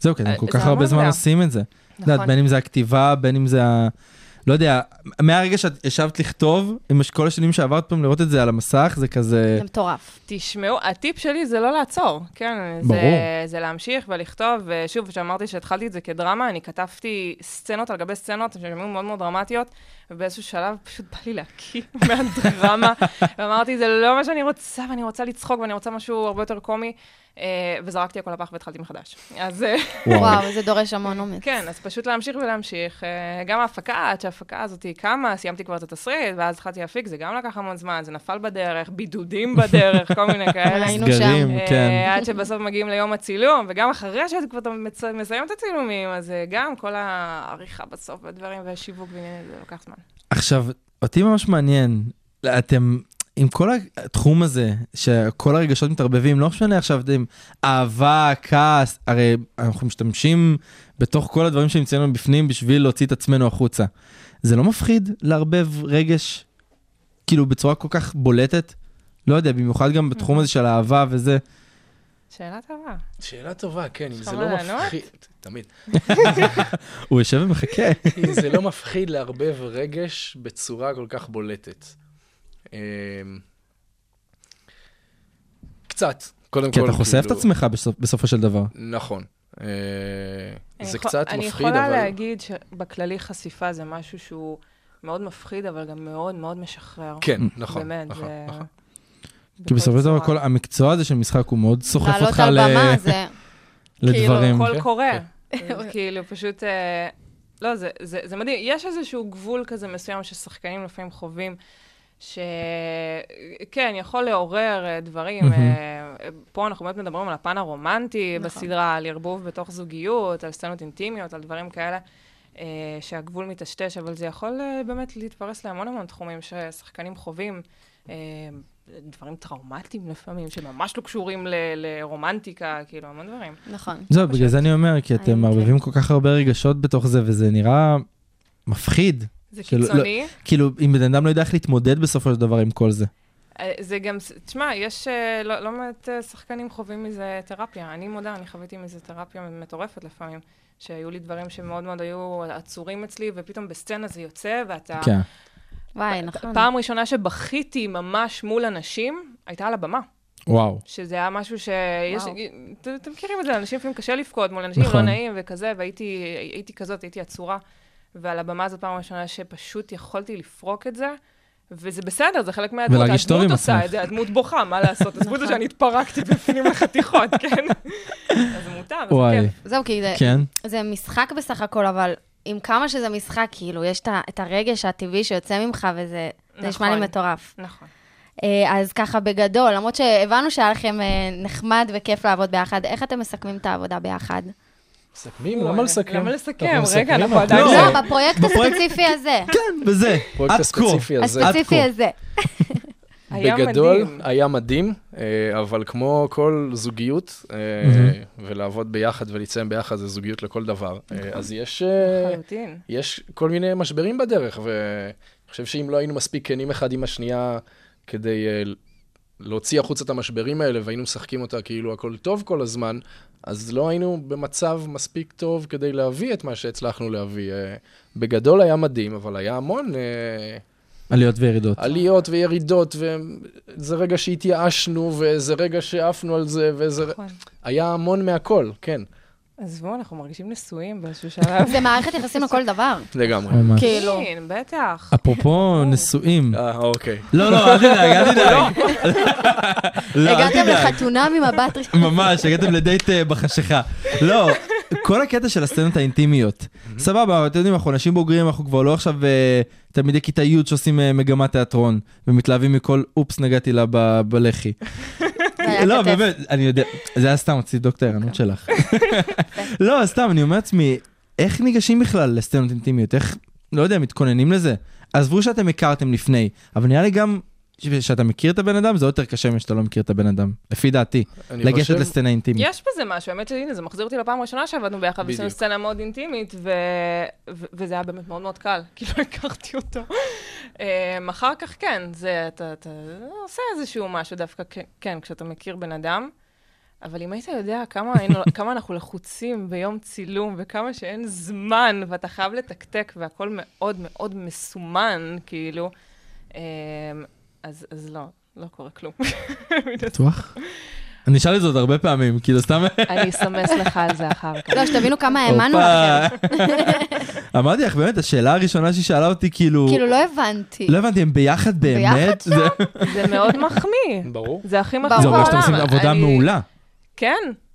זהו, כי אתם
אה,
כל
זה
כך
המון
הרבה זמן
עבודה.
עושים את זה. את יודעת,
נכון.
בין אם זה הכתיבה, בין אם זה ה- לא יודע, מהרגע שאת ישבת לכתוב, עם כל השנים שעברת פעם לראות את זה על המסך, זה כזה...
זה מטורף.
תשמעו, הטיפ שלי זה לא לעצור, כן?
ברור.
זה, זה להמשיך ולכתוב, ושוב, כשאמרתי שהתחלתי את זה כדרמה, אני כתבתי סצנות על גבי סצנות, שהן היו מאוד מאוד דרמטיות, ובאיזשהו שלב פשוט בא לי להקיא מהדרמה, ואמרתי, זה לא מה שאני רוצה, ואני רוצה לצחוק, ואני רוצה משהו הרבה יותר קומי, אה, וזרקתי הכל לפח והתחלתי מחדש. אז... אה,
וואו, זה דורש המון אומץ.
כן, אז פשוט להמשיך ולהמשיך. אה, גם ההפקה, עד שההפקה הזאת קמה, סיימתי כבר את התסריט, ואז התחלתי להפיק, זה גם לקח המון זמן, זה נפל בדרך, בידודים בדרך, כל מיני כאלה.
היינו
סגרים,
אה,
כן.
עד שבסוף מגיעים ליום הצילום, וגם אחרי שאת כבר מצ- מסיים את הצילומים, אז אה, גם כל העריכה בסוף והדברים והשיווק ועניינים, זה לוקח זמן.
עכשיו, אותי ממש מעניין, אתם, עם כל התחום הזה, שכל הרגשות מתערבבים, לא משנה עכשיו אם אהבה, כעס, הרי אנחנו משתמשים בתוך כל הדברים שנמצאים בפנים בשביל להוציא את עצמנו החוצה. זה לא מפחיד לערבב רגש, כאילו, בצורה כל כך בולטת? לא יודע, במיוחד גם בתחום הזה של אהבה וזה.
שאלה טובה.
שאלה טובה, כן, אם
יש
זה
לך
לא
מה לענות?
מפחיד... תמיד.
הוא יושב ומחכה.
אם זה לא מפחיד לערבב רגש בצורה כל כך בולטת. אמ, קצת, קודם כל.
כי אתה חושף את
כאילו,
עצמך בסופ- בסופו של דבר.
נכון. אה,
אני
זה
יכול-
קצת מפחיד,
אני יכולה
אבל...
להגיד שבכללי חשיפה זה משהו שהוא מאוד מפחיד, אבל גם מאוד מאוד משחרר.
כן,
Mm.
נכון.
באמת,
נכון,
זה...
נכון.
כי
בכל
בסופו של דבר
צורה.
כל המקצוע הזה של משחק הוא מאוד סוחף
לעלות
אותך
על
ל-
במה זה...
לדברים.
כאילו, הכל
כן,
קורה. אז כאילו, פשוט... אה, לא, זה, זה, זה מדהים. יש איזשהו גבול כזה מסוים ששחקנים לפעמים חווים, שכן, יכול לעורר אה, דברים.
מהמם.
אה, פה אנחנו באמת מדברים על הפן הרומנטי
נכון.
בסדרה, על ערבוב בתוך זוגיות, על סצנות אינטימיות, על דברים כאלה. אה, שהגבול מטשטש, אבל זה יכול אה, באמת להתפרס להמון המון תחומים ששחקנים חווים. אה, דברים טראומטיים לפעמים, שממש לא קשורים ל- לרומנטיקה, כאילו, המון דברים.
נכון.
זהו, בגלל זה אני אומר, כי אתם
אני-
מערבבים כל כך הרבה רגשות בתוך זה, וזה נראה מפחיד.
זה
שלא-
קיצוני.
כאילו, אם בן אדם לא יודע איך להתמודד בסופו של דבר עם כל זה.
אה, זה גם, ס- תשמע, יש אה, לא לא מעט אה, שחקנים חווים מזה תרפיה. אני מודה, אני חוויתי מזה תרפיה מטורפת לפעמים, שהיו לי דברים שמאוד מאוד היו עצורים אצלי, ופתאום בסצנה זה יוצא, ואתה...
כן.
וואי, נכון.
פעם ראשונה שבכיתי ממש מול אנשים, הייתה על הבמה.
וואו.
שזה היה משהו שיש...
וואו.
ת- אתם מכירים את זה, לאנשים לפעמים קשה לבכות מול אנשים
נכון.
לא נעים וכזה, והייתי הייתי כזאת, הייתי עצורה. ועל הבמה זאת פעם ראשונה שפשוט יכולתי לפרוק את זה, וזה בסדר, זה חלק מהדמות.
ולהרגיש טוב עם
הדמות עושה
עצמך.
את זה, הדמות בוכה, מה לעשות? עזבו את זה שאני התפרקתי בפנים לחתיכות, כן? אז מותר, אז
וואי.
כיף.
זהו, כי זה-
כן.
זה משחק בסך הכל, אבל עם כמה שזה משחק, כאילו, יש את ה- את הרגש הטבעי שיוצא ממך, וזה זה נשמע
נכון.
לי מטורף.
נכון.
אה, אז ככה, בגדול, למרות שהבנו שהיה לכם אה, נחמד וכיף לעבוד ביחד, איך אתם מסכמים את העבודה ביחד?
מסכמים? למה לסכם?
למה לסכם?
אנחנו
רגע,
מסכמים
אנחנו
הכל.
עדיין-
לא.
לא, בפרויקט
בפרויקט-
הספציפי הזה.
כן, וזה.
הפרויקט
עד כה.
הספציפי הזה.
הספציפי
עד כה.
הזה.
לא,
היה
בגדול,
מדהים.
היה מדהים, אה, אבל כמו כל זוגיות, אה,
מהמם.
ולעבוד ביחד ולהתסיים ביחד זה זוגיות לכל דבר.
נכון.
אה, אז יש אה,
לחלוטין.
יש כל מיני משברים בדרך, ואני חושב שאם לא היינו מספיק כנים אחד עם השנייה כדי אה, להוציא החוצה את המשברים האלה, והיינו משחקים אותה כאילו הכל טוב כל הזמן, אז לא היינו במצב מספיק טוב כדי להביא את מה שהצלחנו להביא. אה, בגדול היה מדהים, אבל היה המון אה,
עליות וירידות.
עליות וירידות, וזה רגע שהתייאשנו, וזה רגע שעפנו על זה, וזה...
נכון.
היה המון מהכל, כן,
עזבו, אנחנו מרגישים נשואים באיזשהו שלב.
זה מערכת יחסים לכל דבר.
לגמרי.
ממש.
כאילו.
כן, בטח.
אפרופו נשואים.
אה, אוקיי.
לא, לא, אל תדאג, אל תדאג. לא, אל
הגעתם
תדאג.
לחתונה ממבט ראשון.
ממש, הגעתם לדייט אה, בחשיכה. לא, כל הקטע של הסצנות האינטימיות. סבבה, אתם יודעים, אנחנו אנשים בוגרים, אנחנו כבר לא עכשיו אה, תלמידי כיתה י' שעושים אה, מגמת תיאטרון, ומתלהבים מכל אופס, נגעתי לה ב- בלחי.
היה
לא,
אה, כתף.
באמת, אני יודע, זה היה סתם, רציתי לבדוק את הערנות שלך. לא, סתם, אני אומר לעצמי, איך ניגשים בכלל לסצנות אינטימיות? איך, לא יודע, מתכוננים לזה? עזבו שאתם הכרתם לפני, אבל נראה לי גם... כשאתה מכיר את הבן אדם, זה עוד יותר קשה משאתה לא מכיר את הבן אדם, לפי דעתי,
אני
לגשת
חושב-
לסצנה אינטימית.
יש בזה משהו, האמת שהנה, זה מחזיר אותי לפעם הראשונה שעבדנו ביחד, ועשינו
בדיוק.
סצנה מאוד אינטימית, ו... ו... וזה היה באמת מאוד מאוד קל, כי לא הכרתי אותו. אמ, אחר כך כן, זה, אתה, אתה עושה איזשהו משהו דווקא, כ- כן, כשאתה מכיר בן אדם. אבל אם היית יודע כמה, היינו, כמה אנחנו לחוצים ביום צילום, וכמה שאין זמן, ואתה חייב לתקתק, והכל מאוד מאוד מסומן, כאילו, אמ, אז, אז לא, לא קורה כלום.
בטוח? אני אשאל את זה עוד הרבה פעמים, כאילו סתם...
אני אסמס לך על זה אחר כך.
לא, שתבינו כמה האמנו לכם.
הופה. אמרתי לך, באמת, השאלה הראשונה שהיא שאלה אותי, כאילו...
כאילו, לא הבנתי.
לא הבנתי, הם ביחד באמת? זה-
זה מאוד מחמיא.
ברור.
זה הכי
ברור.
מחמיא
זה אומר שאתם
בעולם.
עושים עבודה
אני-
מעולה.
כן.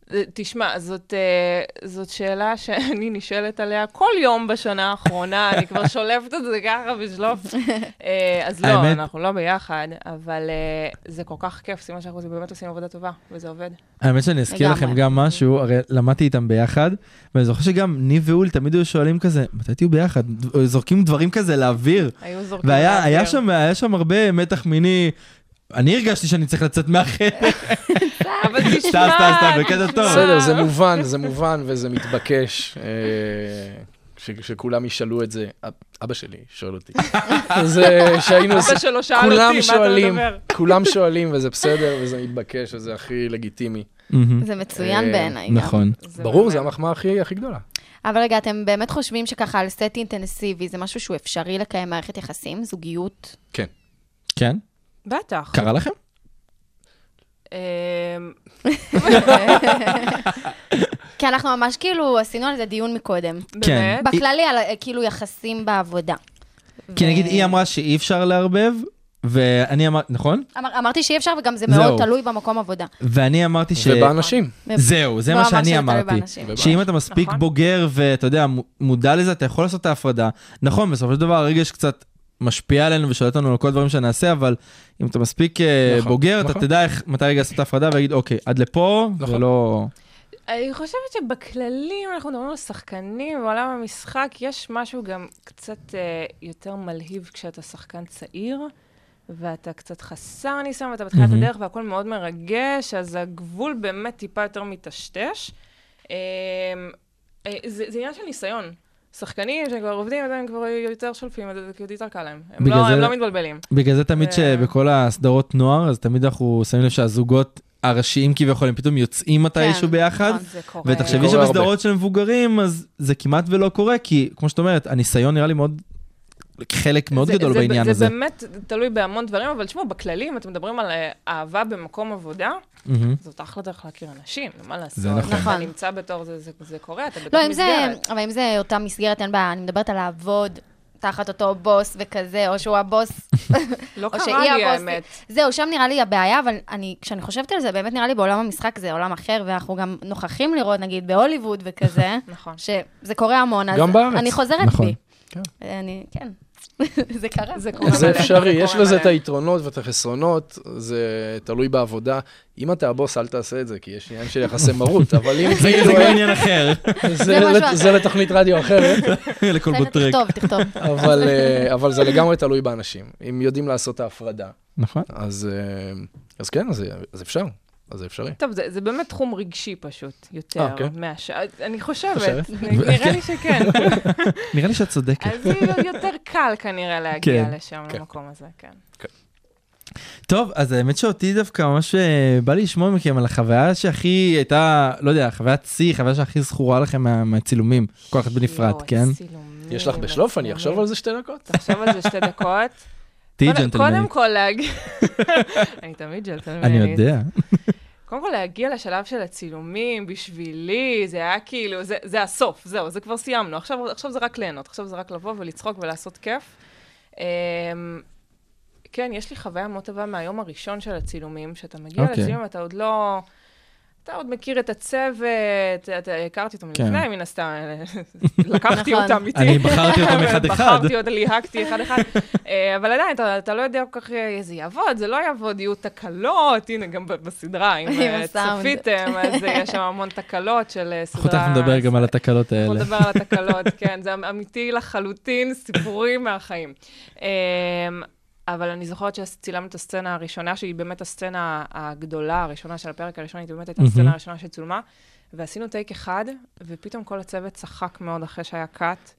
זה- תשמע, זאת, אה, זאת שאלה שאני נשאלת עליה כל יום בשנה האחרונה, אני כבר שולפת את זה ככה בשלוף. אה, אז לא,
האמת-
אנחנו לא ביחד, אבל אה, זה כל כך כיף, סימן שאנחנו עושים- באמת עושים עבודה טובה, וזה עובד.
האמת שאני אזכיר
לגמרי.
לכם גם משהו, הרי למדתי איתם ביחד, ואני זוכר שגם ניב ואול תמיד היו שואלים כזה, מתי תהיו ביחד? זורקים דברים כזה לאוויר.
היו זורקים
והיה
לאוויר.
היה שם, היה שם הרבה מתח מיני. אני הרגשתי שאני צריך לצאת מהחדר.
אבל תשמע,
סתם, סתם, סתם, בקטע טוב.
בסדר,
אה.
זה מובן, זה מובן וזה מתבקש. אה, ש- שכולם ישאלו את זה, אב- אבא שלי שואל אותי. אז אה, שהיינו עושים,
אבא שלו שאל
כולם
אותי, מה אתה
שואלים,
מדבר?
כולם שואלים וזה בסדר וזה מתבקש וזה הכי לגיטימי.
מהמם.
זה מצוין
אה,
בעיניי גם.
נכון.
זה
ברור,
באמת-
זה המחמאה הכי הכי גדולה.
אבל רגע, אתם באמת חושבים שככה על סט אינטנסיבי זה משהו שהוא אפשרי לקיים מערכת יחסים? זוגיות?
כן?
בטח.
קרה לכם?
אמ,
כי אנחנו ממש כאילו עשינו על זה דיון מקודם.
באמת?
בכללי, על אה, כאילו יחסים בעבודה.
כי
ו-
נגיד, היא אמרה שאי אפשר לערבב, ואני אמרתי, נכון?
אמר- אמרתי שאי אפשר, וגם זה
זהו.
מאוד תלוי במקום עבודה.
ואני אמרתי ש...
ובאנשים.
כן.
זהו, זה מה
לא, אמרת
שאני
שזה תלוי
אמרתי.
באנשים.
שאם אתה מספיק
נכון.
בוגר ואתה יודע, מ- מודע לזה, אתה יכול לעשות את ההפרדה. נכון, בסופו של דבר הרגש קצת משפיע עלינו ושולט לנו על כל הדברים שנעשה, אבל אם אתה מספיק אה,
נכון,
בוגר, אתה
נכון.
תדע איך, מתי רגע לעשות את ההפרדה ולהגיד, אוקיי, עד לפה,
נכון.
ולא...
אני חושבת שבכללי, אם אנחנו מדברים על שחקנים בעולם המשחק, יש משהו גם קצת אה, יותר מלהיב כשאתה שחקן צעיר, ואתה קצת חסר ניסיון, ואתה בתחילת
מהמם.
הדרך והכל מאוד מרגש, אז הגבול באמת טיפה יותר מיטשטש. אה, אה, זה זה עניין של ניסיון. שחקנים שכבר עובדים, אז הם כבר יותר שולפים, אז זה כאילו יותר קל להם. הם
בגלל
לא-
זה-
הם לא מתבלבלים.
בגלל זה תמיד
אה.
שבכל הסדרות נוער, אז תמיד אנחנו שמים לב שהזוגות הראשיים כביכול, הם פתאום יוצאים מתישהו
כן,
ביחד.
נכון, זה קורה.
ותחשבי
קורה הרבה.
שבסדרות של מבוגרים, אז זה כמעט ולא קורה, כי כמו שאת אומרת, הניסיון נראה לי מאוד, חלק מאוד
זה-
גדול
זה-
בעניין
זה
הזה.
באמת תלוי בהמון דברים, אבל תשמעו, בכללי, אם אתם מדברים על אה, אהבה במקום עבודה,
מהמם.
זאת אחלה דרך להכיר אנשים, מה לעשות?
זה נכון.
נכון.
אתה נמצא בתור זה, זה, זה קורה, אתה בתוך
לא, אם זה,
מסגרת.
אבל אם זה אותה מסגרת, אין בעיה, אני מדברת על לעבוד תחת אותו בוס וכזה, או שהוא הבוס,
לא
או
קרה לי
הבוס.
האמת.
זהו, שם נראה לי הבעיה, אבל אני, כשאני חושבת על זה, באמת נראה לי בעולם המשחק זה עולם אחר, ואנחנו גם נוכחים לראות, נגיד, בהוליווד וכזה,
נכון.
שזה קורה המון, אז
גם בארץ.
אני חוזרת
נכון.
בי.
כן.
אני, כן. זה קרה.
זה קורה.
זה
מלא,
אפשרי,
זה
יש
קורה
לזה
מלא.
את היתרונות ואת החסרונות, זה תלוי בעבודה. אם אתה הבוס, אל תעשה את זה, כי יש עניין של יחסי מרות, אבל אם
זה
כאילו...
כבר עניין אחר,
זה
משהו
לת-
אחר.
זה לתוכנית רדיו אחרת,
לכל
בסדר,
בוטרק.
תכתוב, תכתוב.
אבל, אה, אבל זה לגמרי תלוי באנשים. אם יודעים לעשות את ההפרדה,
נכון.
אז, אה, אז כן, אז, אז אפשר, אז זה אפשרי.
טוב, זה, זה באמת תחום רגשי פשוט, יותר
אה,
אוקיי.
כן?
מהשאר, אני חושבת,
חושבת?
נראה לי שכן.
נראה לי שאת צודקת.
אז זה יותר קל כנראה להגיע
כן,
לשם,
כן.
למקום הזה, כן.
טוב, אז האמת שאותי דווקא ממש אה, בא לי לשמוע מכם על החוויה שהכי הייתה, לא יודע, חוויית שיא, חוויה שהכי זכורה לכם מה- מהצילומים, כל אחת בנפרד,
יואו,
כן?
צילומים,
יש לך בשלוף, אני אחשוב
צילומים.
על זה שתי דקות.
תחשוב על זה שתי דקות.
תהיי
קודם- קודם
ג'נטלמנית.
כל להגיע... אני תמיד ג'נטלמנית.
אני יודע.
קודם כל להגיע לשלב של הצילומים, בשבילי, זה היה כאילו, זה, זה הסוף, זהו, זה כבר סיימנו. עכשיו, עכשיו זה רק ליהנות, עכשיו זה רק לבוא ולצחוק ולעשות כיף. אמ, כן, יש לי חוויה מאוד טובה מהיום הראשון של הצילומים, שאתה מגיע okay.
אוקיי.
לצילומים, אתה עוד לא... אתה עוד מכיר את הצוות, אתה הכרתי אותם
כן.
לפני, מן הסתם, אה, לקחתי
נכון.
אותם איתי.
אני בחרתי אותם אחד אחד.
בחרתי אותם, ליהקתי אחד אחד. אה, אבל עדיין, אתה, אתה לא יודע כל כך אה, זה יעבוד, זה לא יעבוד, יהיו תקלות, הנה, גם ב- בסדרה, אם
עם
אה,
הסאונד.
צפיתם, אז אה, יש שם המון תקלות של אה, סדרה.
אנחנו תכף נדבר גם על התקלות
אנחנו
האלה.
נדבר על התקלות, כן, זה אמיתי לחלוטין, סיפורים מהחיים. אה, אבל אני זוכרת שצילמנו את הסצנה הראשונה, שהיא באמת הסצנה הגדולה הראשונה של הפרק הראשון, היא באמת הייתה
מהמם.
הסצנה הראשונה שצולמה, ועשינו טייק אחד, ופתאום כל הצוות צחק מאוד אחרי שהיה קאט,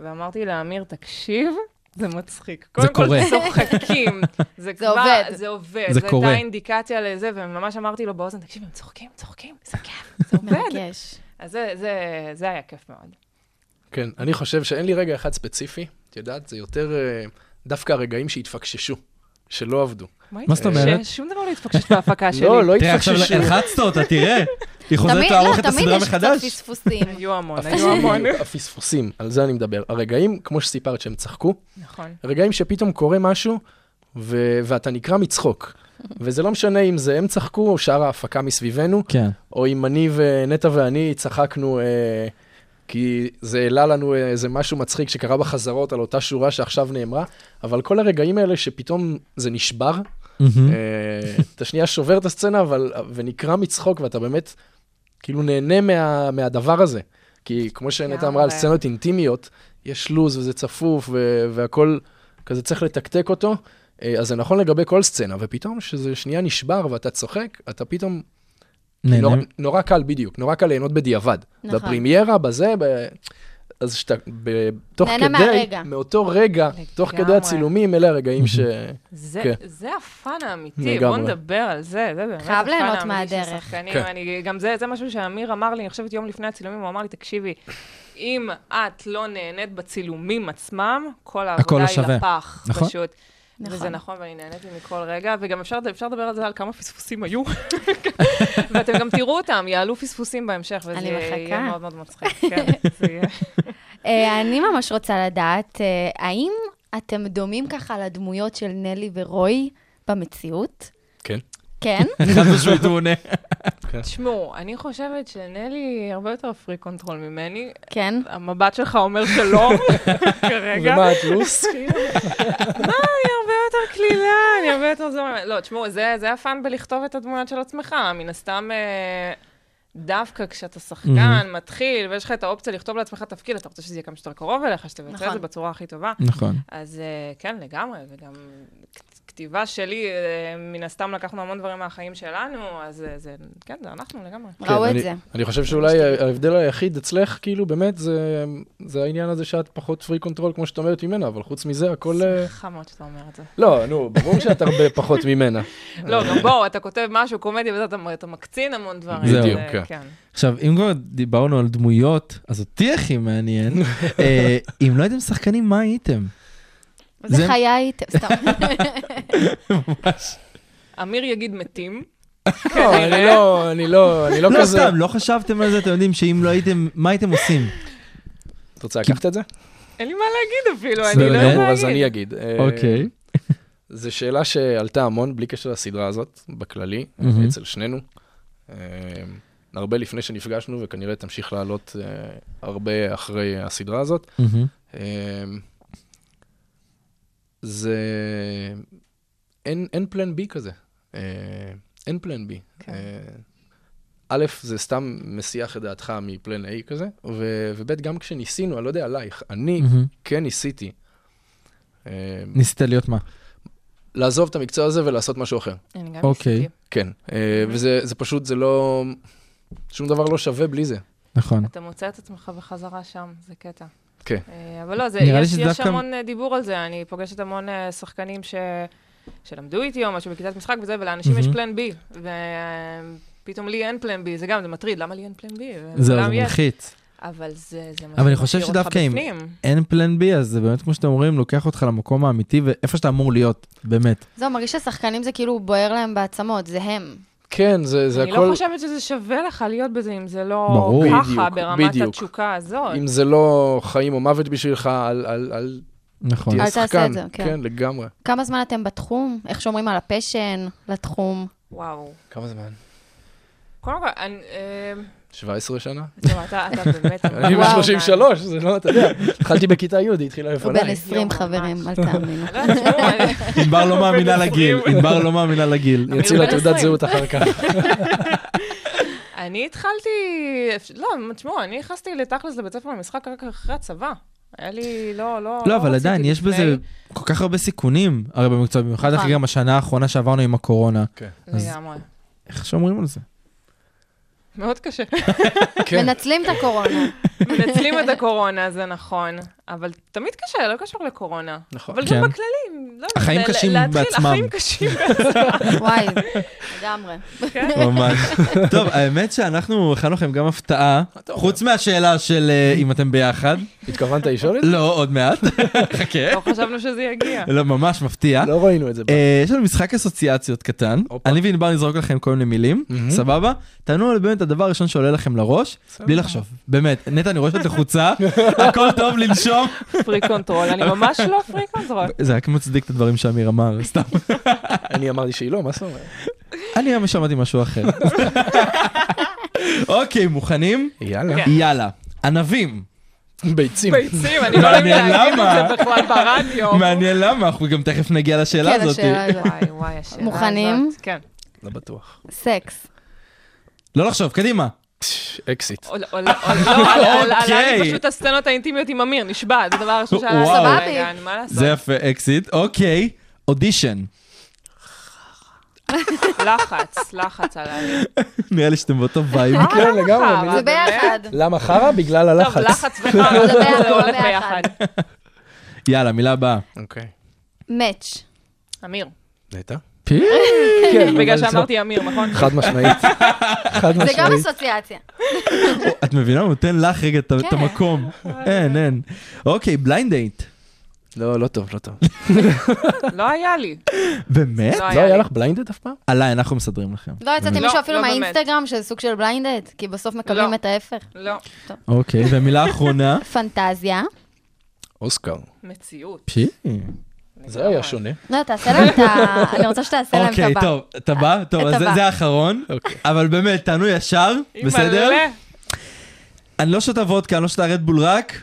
ואמרתי לאמיר, תקשיב, זה מצחיק. קודם כל
קורה.
צוחקים. זה כבר-
עובד.
זה עובד.
זה
זו
קורה.
הייתה אינדיקציה לזה, וממש אמרתי לו באוזן, תקשיב, הם צוחקים, צוחקים, זה כיף, זה עובד.
מרגש.
אז זה- זה- זה היה כיף מאוד.
כן, אני חושב שאין לי רגע אחד ספציפי, את יודעת, זה יותר אה, דווקא הרגעים שהתפקששו, שלא עבדו.
מה זאת אומרת?
ששום דבר לא התפקשש בהפקה שלי.
לא, לא
תראה, עכשיו
התפקששו.
הלחצת אותה, תראה. היא חוזרת
תמיד, לא,
לערוך את
תמיד
הסדרה
יש קצת
מחדש.
פספוסים.
היו המון, היו המון.
הפספוסים, הפספוסים, על זה אני מדבר. הרגעים, כמו שסיפרת, שהם צחקו,
נכון.
רגעים שפתאום קורה משהו, ו- ואתה נקרע מצחוק. וזה לא משנה אם זה הם צחקו, או שאר ההפקה מסביבנו,
כן.
או אם אני ונטע ואני צחקנו, אה, כי זה העלה לנו אה, איזה משהו מצחיק שקרה בחזרות על אותה שורה שעכשיו נאמרה, אבל כל הרגעים האלה שפתאום זה נשבר,
מהמם.
אה, אתה שנייה שובר את הסצנה, אבל, ונקרע מצחוק, ואתה באמת כאילו נהנה מה, מהדבר הזה. כי כמו שנטע אמרה על
לגמרי.
סצנות אינטימיות, יש לוז וזה צפוף ו- והכל כזה צריך לתקתק אותו, אה, אז זה נכון לגבי כל סצנה, ופתאום שזה שנייה נשבר ואתה צוחק, אתה פתאום, נורא,
נהנה.
נורא קל בדיוק, נורא קל ליהנות בדיעבד.
נכון.
בפרימיירה, בזה, ב... אז שאתה, ב... תוך
נהנה
כדי,
מהרגע.
מאותו רגע, תוך כדי
לגמרי.
הצילומים, אלה הרגעים ש...
זה,
כן.
זה הפאן האמיתי, בוא
לגמרי.
נדבר על זה, זה באמת
חייב
הפאן
ליהנות
האמיתי של
מהדרך.
שחקנים.
כן.
אני, גם זה, זה משהו שאמיר אמר לי, אני חושבת יום לפני הצילומים, הוא אמר לי, תקשיבי, אם את לא נהנית בצילומים עצמם,
הכל
כל
לא
העבודה היא
שווה.
לפח,
נכון.
פשוט.
נכון.
וזה נכון, ואני נהניתי מכל רגע, וגם אפשר, אפשר לדבר על זה, על כמה פספוסים היו, ואתם גם תראו אותם, יעלו פספוסים בהמשך, וזה
אני
יהיה
מחכה.
מאוד מאוד מצחיק. כן, זה יהיה.
אה, אני ממש רוצה לדעת, אה, האם אתם דומים ככה לדמויות של נלי ורוי במציאות?
כן.
כן?
חד משמעית הוא עונה.
תשמעו, אני חושבת שנלי הרבה יותר פרי קונטרול ממני,
כן.
המבט שלך אומר שלום כרגע. לא,
ומה התלוס?
אני הרבה יותר קלילה, אני הרבה יותר זורמת. לא, תשמעו, זה זה הפאן בלכתוב את הדמויות של עצמך. מן הסתם, אה, דווקא כשאתה שחקן, מתחיל, ויש לך את האופציה לכתוב לעצמך תפקיד, אתה רוצה שזה יהיה כמה שיותר קרוב אליך, שתבצע את זה
נכון.
בצורה הכי טובה.
נכון.
אז אה, כן, לגמרי, וגם כ- כתיבה שלי, אה, מן הסתם לקחנו המון דברים מהחיים שלנו, אז אה, זה, כן, זה אנחנו לגמרי.
כן,
ראו את
אני-
זה.
אני חושב שאולי ההבדל היחיד אצלך, כאילו, באמת, זה- זה העניין הזה שאת פחות פרי קונטרול, כמו שאת אומרת ממנה, אבל חוץ מזה, הכל... אה,
שמחה מאוד שאתה אומר את זה.
לא, נו, ברור שאת הרבה פחות ממנה.
לא, גם בואו, אתה כותב משהו, קומדיה וזה, אתה- אתה מקצין המון דברים.
זהו.
זה-
בדיוק,
כן.
עכשיו, אם כבר דיברנו על דמויות, אז אותי הכי מעניין. אה, אם לא הייתם שחקנים, מה הייתם?
זה
זה-
חיי הייתם, סתם.
אמיר יגיד מתים.
לא, אני לא, אני לא, אני לא
לא
כזה...
סתם, לא חשבתם על זה, אתם יודעים שאם לא הייתם, מה הייתם עושים?
את רוצה לקחת את זה?
אין לי מה להגיד אפילו, אני
בסדר,
לא
גמור,
יודעת
אז אני
להגיד.
אגיד. אה,
אוקיי.
זו שאלה שעלתה המון, בלי קשר לסדרה הזאת, בכללי,
מהמם.
אצל שנינו. אה, הרבה לפני שנפגשנו, וכנראה תמשיך לעלות אה, הרבה אחרי הסדרה הזאת.
מהמם.
אמ, זה... אין, אין פלן בי כזה. אה, אין פלן בי.
כן.
אה, א', זה סתם מסיח את דעתך מפלן A כזה, ו- וב', גם כשניסינו, אני לא יודע עלייך, אני
מהמם.
כן ניסיתי אה,
ניסית להיות מה?
לעזוב את המקצוע הזה ולעשות משהו אחר.
אני גם
אוקיי.
ניסיתי.
כן. אה, וזה זה פשוט, זה לא... שום דבר לא שווה בלי זה.
נכון.
אתה מוצא את עצמך בחזרה שם, זה קטע.
כן.
אה, אבל לא, זה,
נראה לי
יש,
שזה
יש
דווקא-
המון אה, דיבור על זה, אני פוגשת המון אה, שחקנים ש... שלמדו איתי או משהו בכיתת משחק וזה, ולאנשים יש
מהמם.
פלן בי, ופתאום לי אין פלן בי, זה גם, זה מטריד, למה לי אין פלן בי?
זהו, זה
ולכולם יש.
מלחיץ.
אבל זה, זה מה
אבל אני חושב
שמשאיר
שדווקא
אותך
אם-
בפנים.
אין פלן בי, אז זה באמת, כמו שאתם אומרים, לוקח אותך למקום האמיתי ואיפה שאתה אמור להיות, באמת.
זהו, מרגיש ששחקנים זה כאילו בוער להם בעצמות, זה הם.
כן, זה, זה
אני
הכל...
לא חושבת שזה שווה לך להיות בזה אם זה לא
ברור.
ככה,
בדיוק,
ברמת
בדיוק.
התשוקה הזאת.
אם זה לא חיים או מוות בשבילך, אל, אל, אל
נכון.
תהיה
אל תעשה
שחקן.
את זה, כן.
כן, לגמרי.
כמה זמן אתם בתחום? איך שומרים על הפשן לתחום?
וואו.
כמה זמן?
קודם כל, אני... אה,
17 שנה?
טוב, אתה אתה באמת...
אני
וואו.
ב-33, זה לא, אתה יודע. התחלתי בכיתה י', היא התחילה
הוא
לפניי.
בן 20
יואו,
חברים,
ממש.
אל תאמינו.
לא, תשמעו, אני-
ענבר לא מאמינה
בן
לגיל,
עשרים.
ענבר לא מאמינה לגיל.
אני אוציא
הוא
לה
בן
תעודת
20.
זהות אחר כך.
אני התחלתי... אפ- לא, תשמעו, אני נכנסתי לתכלס לבית ספר למשחק רק אחרי הצבא. היה לי... לא, לא...
לא, אבל
רציתי
עדיין, יש
לפני.
בזה כל כך הרבה סיכונים, הרי במקצוע, במיוחד
נכון.
אחרי גם השנה האחרונה שעברנו עם הקורונה. אז-
לגמרי.
איך שומרים על זה?
מאוד קשה.
כן.
מנצלים את הקורונה.
מנצלים את הקורונה, זה נכון, אבל תמיד קשה, לא קשור לקורונה.
נכון.
אבל
כן.
גם בכללי, לא יודעת,
החיים
ל-
קשים
להתחיל,
בעצמם.
החיים קשים בעצמם.
וואי, לגמרי.
ממש. טוב, האמת שאנחנו הכנו לכם גם הפתעה,
אתה אומר?
חוץ מהשאלה של אה, אם אתם ביחד.
התכוונת לשאול את זה?
לא, עוד מעט. חכה.
לא חשבנו שזה יגיע.
לא, ממש מפתיע.
לא ראינו את זה.
אה, יש לנו משחק אסוציאציות קטן,
הופה.
אני וענבר נזרוק לכם כל מיני מילים, סבבה? תענו על באמת הדבר הראשון שעולה לכם לראש, בלי לחשוב, באמת, נטע אני רואה שאת לחוצה, הכל טוב לנשום,
פרי קונטרול, אני ממש לא פרי קונטרול.
זה רק מצדיק את הדברים שאמיר אמר, סתם.
אני אמרתי שהיא לא, מה זאת אומרת?
אני היום שמעתי משהו אחר. אוקיי, מוכנים?
יאללה.
כן.
יאללה, ענבים.
ביצים.
ביצים, אני לא יודעת
מעניין
להגיד
למה. כן,
את זה בכלל ברדיו.
מעניין למה, אנחנו גם תכף נגיע לשאלה
כן,
הזאת.
השאלה הזאת.
וואי, וואי, השאלה הזאת.
מוכנים?
כן.
לא בטוח.
סקס.
לא לחשוב, קדימה.
אקזיט.
עול- עול- עול- לא, עלה- עלה- עלה
אוקיי.
לי פשוט הסצנות האינטימיות עם אמיר, נשבע, זה דבר הראשון שעלה
וואו.
לי
סבבה.
ברגע, אני- מה לעשות?
זה יפה, אקזיט. אוקיי, אודישן.
לחץ, לחץ עלה לי.
נראה לי שאתם באותו וייב.
כן, לגמרי.
אה,
זה
אני-
ביחד.
למה חרא? בגלל
טוב,
הלחץ.
לחץ וחרא,
זה ביחד,
זה הולך
לא ביחד.
ביחד.
יאללה, מילה הבאה.
אוקיי.
מאץ'. לא.
אמיר,
נטע?
כן, בגלל
אבל זה-
שאמרתי אמיר, נכון?
לא. חד משמעית. חד
זה גם
משמעית.
אסוציאציה.
את מבינה? הוא נותן לך רגע את את המקום. אין, אין. אוקיי, בליינד דייט.
לא, לא טוב, לא טוב.
לא היה לי.
באמת?
לא
לא היה
לי.
לך בליינדד אף פעם?
עליי, אנחנו מסדרים לכם.
לא יצאתי
לא,
מישהו אפילו
לא באמת.
מהאינסטגרם, שזה סוג של בליינדד, כי בסוף מקבלים
לא.
את ההפך.
לא,
אוקיי, והמילה האחרונה.
פנטזיה.
אוסקר.
מציאות.
פשי.
זה היה שונה.
לא, תעשה להם את ה... אני רוצה שתעשה להם את
אוקיי,
הבא.
טוב, אתה בא? טוב,
אתה
אז זה-
בא.
זה האחרון.
אוקיי.
אבל באמת, תענו ישר, בסדר?
מלא.
אני לא שותה וודקה, אני לא שותה רדבול רק.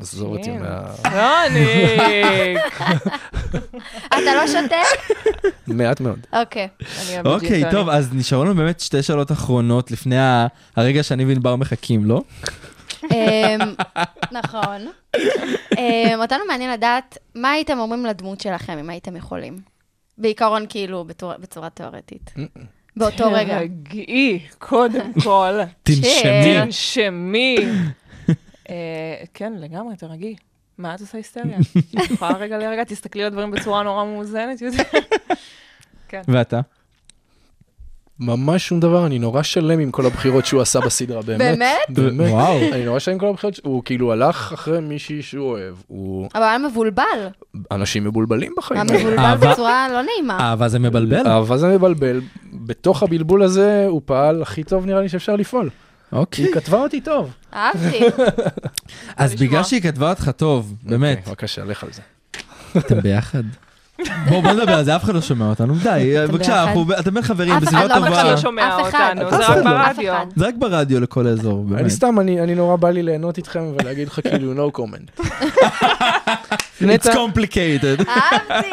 עזוב אותי
כן.
מה...
טוניק.
אתה לא שותה?
מעט מאוד.
אוקיי.
אני אוהבת
אוקיי,
ג'ין
טוב,
טוניק.
אז נשארו לנו באמת שתי שאלות אחרונות לפני ה- הרגע שאני וענבר מחכים, לא?
אמ, נכון. אמ, אותנו מעניין לדעת, מה הייתם אומרים לדמות שלכם, אם הייתם יכולים? בעיקרון, כאילו, בתור- בצורה תיאורטית.
אה,
באותו רגע.
תרגעי, קודם כל.
תנשמי.
תנשמי. אה, כן, לגמרי, תרגעי. מה את עושה היסטריה? את יכולה רגע לרגע, תסתכלי על הדברים בצורה נורא מאוזנת. יותר.
ואתה?
ממש שום דבר, אני נורא שלם עם כל הבחירות שהוא עשה בסדרה, באמת.
באמת?
באמת.
וואו.
אני נורא שלם עם כל הבחירות, ש- הוא כאילו הלך אחרי מישהי שהוא אוהב, הוא...
אבל היה מבולבל.
אנשים מבולבלים בחיים.
היה
האלה.
אהבה- אה.
מבולבל בצורה לא נעימה.
אהבה זה מבלבל.
אהבה אה, זה מבלבל, בתוך הבלבול הזה הוא פעל הכי טוב נראה לי שאפשר לפעול.
אוקיי.
היא כתבה אותי טוב.
אהבתי.
אז
לשמוע.
בגלל שהיא כתבה אותך טוב, באמת,
אוקיי, בבקשה, לך על זה.
אתם ביחד. בואו, בוא נדבר על זה, אף אחד לא שומע אותנו, די, אה,
אתם
בבקשה,
ביחד.
אנחנו- אתם בין חברים,
אף
בסביבה
אחד
אף אחד
טובה.
לא שומע
אף אחד.
אותנו, זה
אף אחד לא.
רק ברדיו.
אף אחד.
זה רק ברדיו לכל האזור,
אני
באמת.
סתם, אני אני נורא בא לי ליהנות איתכם ולהגיד לך כאילו no comment.
It's complicated.
אהבתי.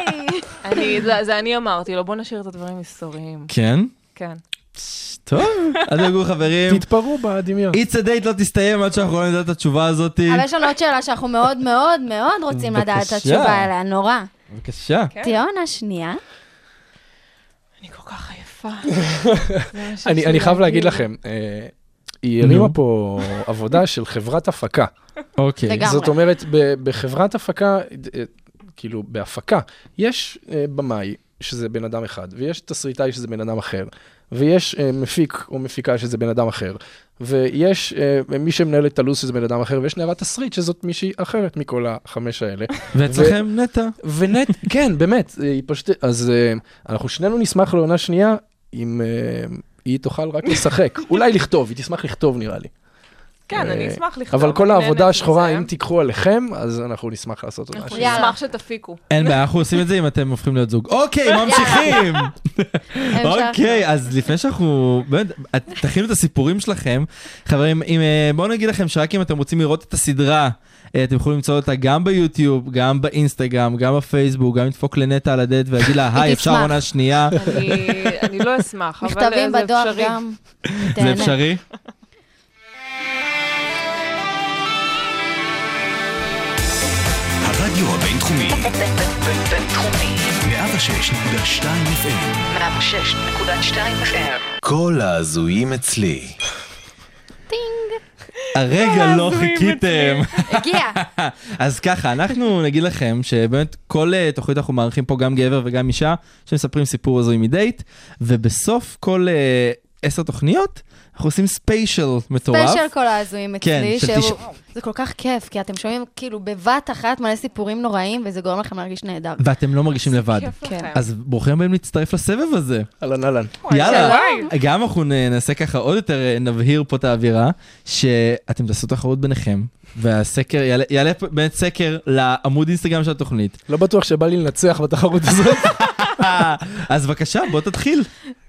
אני- זה- זה אני אמרתי לו, בוא נשאיר את הדברים היסטוריים.
כן?
כן.
טוב, אז דגו חברים.
תתפרעו בדמיון.
It's a date לא תסתיים עד שאנחנו לא נדע את התשובה הזאת.
אבל יש לנו עוד שאלה שאנחנו מאוד מאוד מאוד רוצים לדעת את
בבקשה.
התשובה עליה, נורא.
בבקשה.
כן.
תהיה עונה שנייה.
אני כל כך עייפה. זה מה שיש
אני
לי
אני חייב להגיד לכם, אה, היא הרימה פה עבודה של חברת הפקה.
אוקיי.
לגמרי.
זאת אומרת, ב- בחברת הפקה, אה, כאילו בהפקה, יש אה, במאי, שזה בן אדם אחד, ויש תסריטאי, שזה בן אדם אחר, ויש אה, מפיק או מפיקה, שזה בן אדם אחר, ויש אה, מי שמנהל את הלו"ז, שזה בן אדם אחר, ויש נערת תסריט, שזאת מישהי אחרת מכל החמש האלה.
ואצלכם נטע.
ונט, כן, באמת, אה, היא פשוט... אז אה, אנחנו שנינו נשמח לעונה שנייה, אם אה, היא תוכל רק לשחק. אולי לכתוב, היא תשמח לכתוב נראה לי.
כן, אני
אה,
אשמח לכתוב.
אבל כל
אני
העבודה
נהנית
השחורה,
מזה.
אם תיקחו עליכם, אז אנחנו נשמח לעשות אותה.
אנחנו
יאללה.
נשמח שתפיקו.
אין בעיה, אנחנו עושים את זה אם אתם הופכים להיות זוג. אוקיי, ממשיכים.
המשכנו.
אוקיי, אז לפני שאנחנו... באמת, את- תכינו את הסיפורים שלכם. חברים, אם, אה, בואו נגיד לכם שרק אם אתם רוצים לראות את הסדרה, אה, אתם יכולים למצוא אותה גם ביוטיוב, גם באינסטגרם, גם בפייסבוק, גם לדפוק לנטע על הדלת ולהגיד לה, היי, אפשר
תשמח."
עונה שנייה.
כן. אני- אני לא אשמח, אבל
מכתבים
זה
בדואר
אפשרי.
גם.
אה, זה
תהנה.
אפשרי?
הרדיו הבינתחומי,
בינתחומי,
106.2 FM,
106.2 FM.
כל ההזויים אצלי.
טינג.
הרגע לא
הזויים
חיכיתם.
הגיע.
אז ככה, אנחנו נגיד לכם שבאמת כל אה, תוכנית אנחנו מארחים פה גם גבר וגם אישה שמספרים סיפור הזוי מדייט, ובסוף כל אה, עשר תוכניות אנחנו עושים ספיישל מטורף.
ספיישל כל ההזויים
כן,
אצלי,
של
שהוא...
תשע-
זה כל כך כיף, כי אתם שומעים כאילו בבת אחת מלא סיפורים נוראים, וזה גורם לכם להרגיש נהדר.
ואתם לא מרגישים לבד.
כיף
כן.
לכם.
אז ברוכים הבאים להצטרף לסבב הזה.
אהלן, אהלן.
וואי,
יאללה.
שלום.
גם אנחנו נ- נעשה ככה עוד יותר, אה, נבהיר פה את האווירה, שאתם תעשו תחרות ביניכם, והסקר, יעלה- יעלה פה באמת סקר לעמוד אינסטגרם של התוכנית.
לא בטוח שבא לי לנצח בתחרות הזאת.
אה,
אז בבקשה, בוא תתחיל.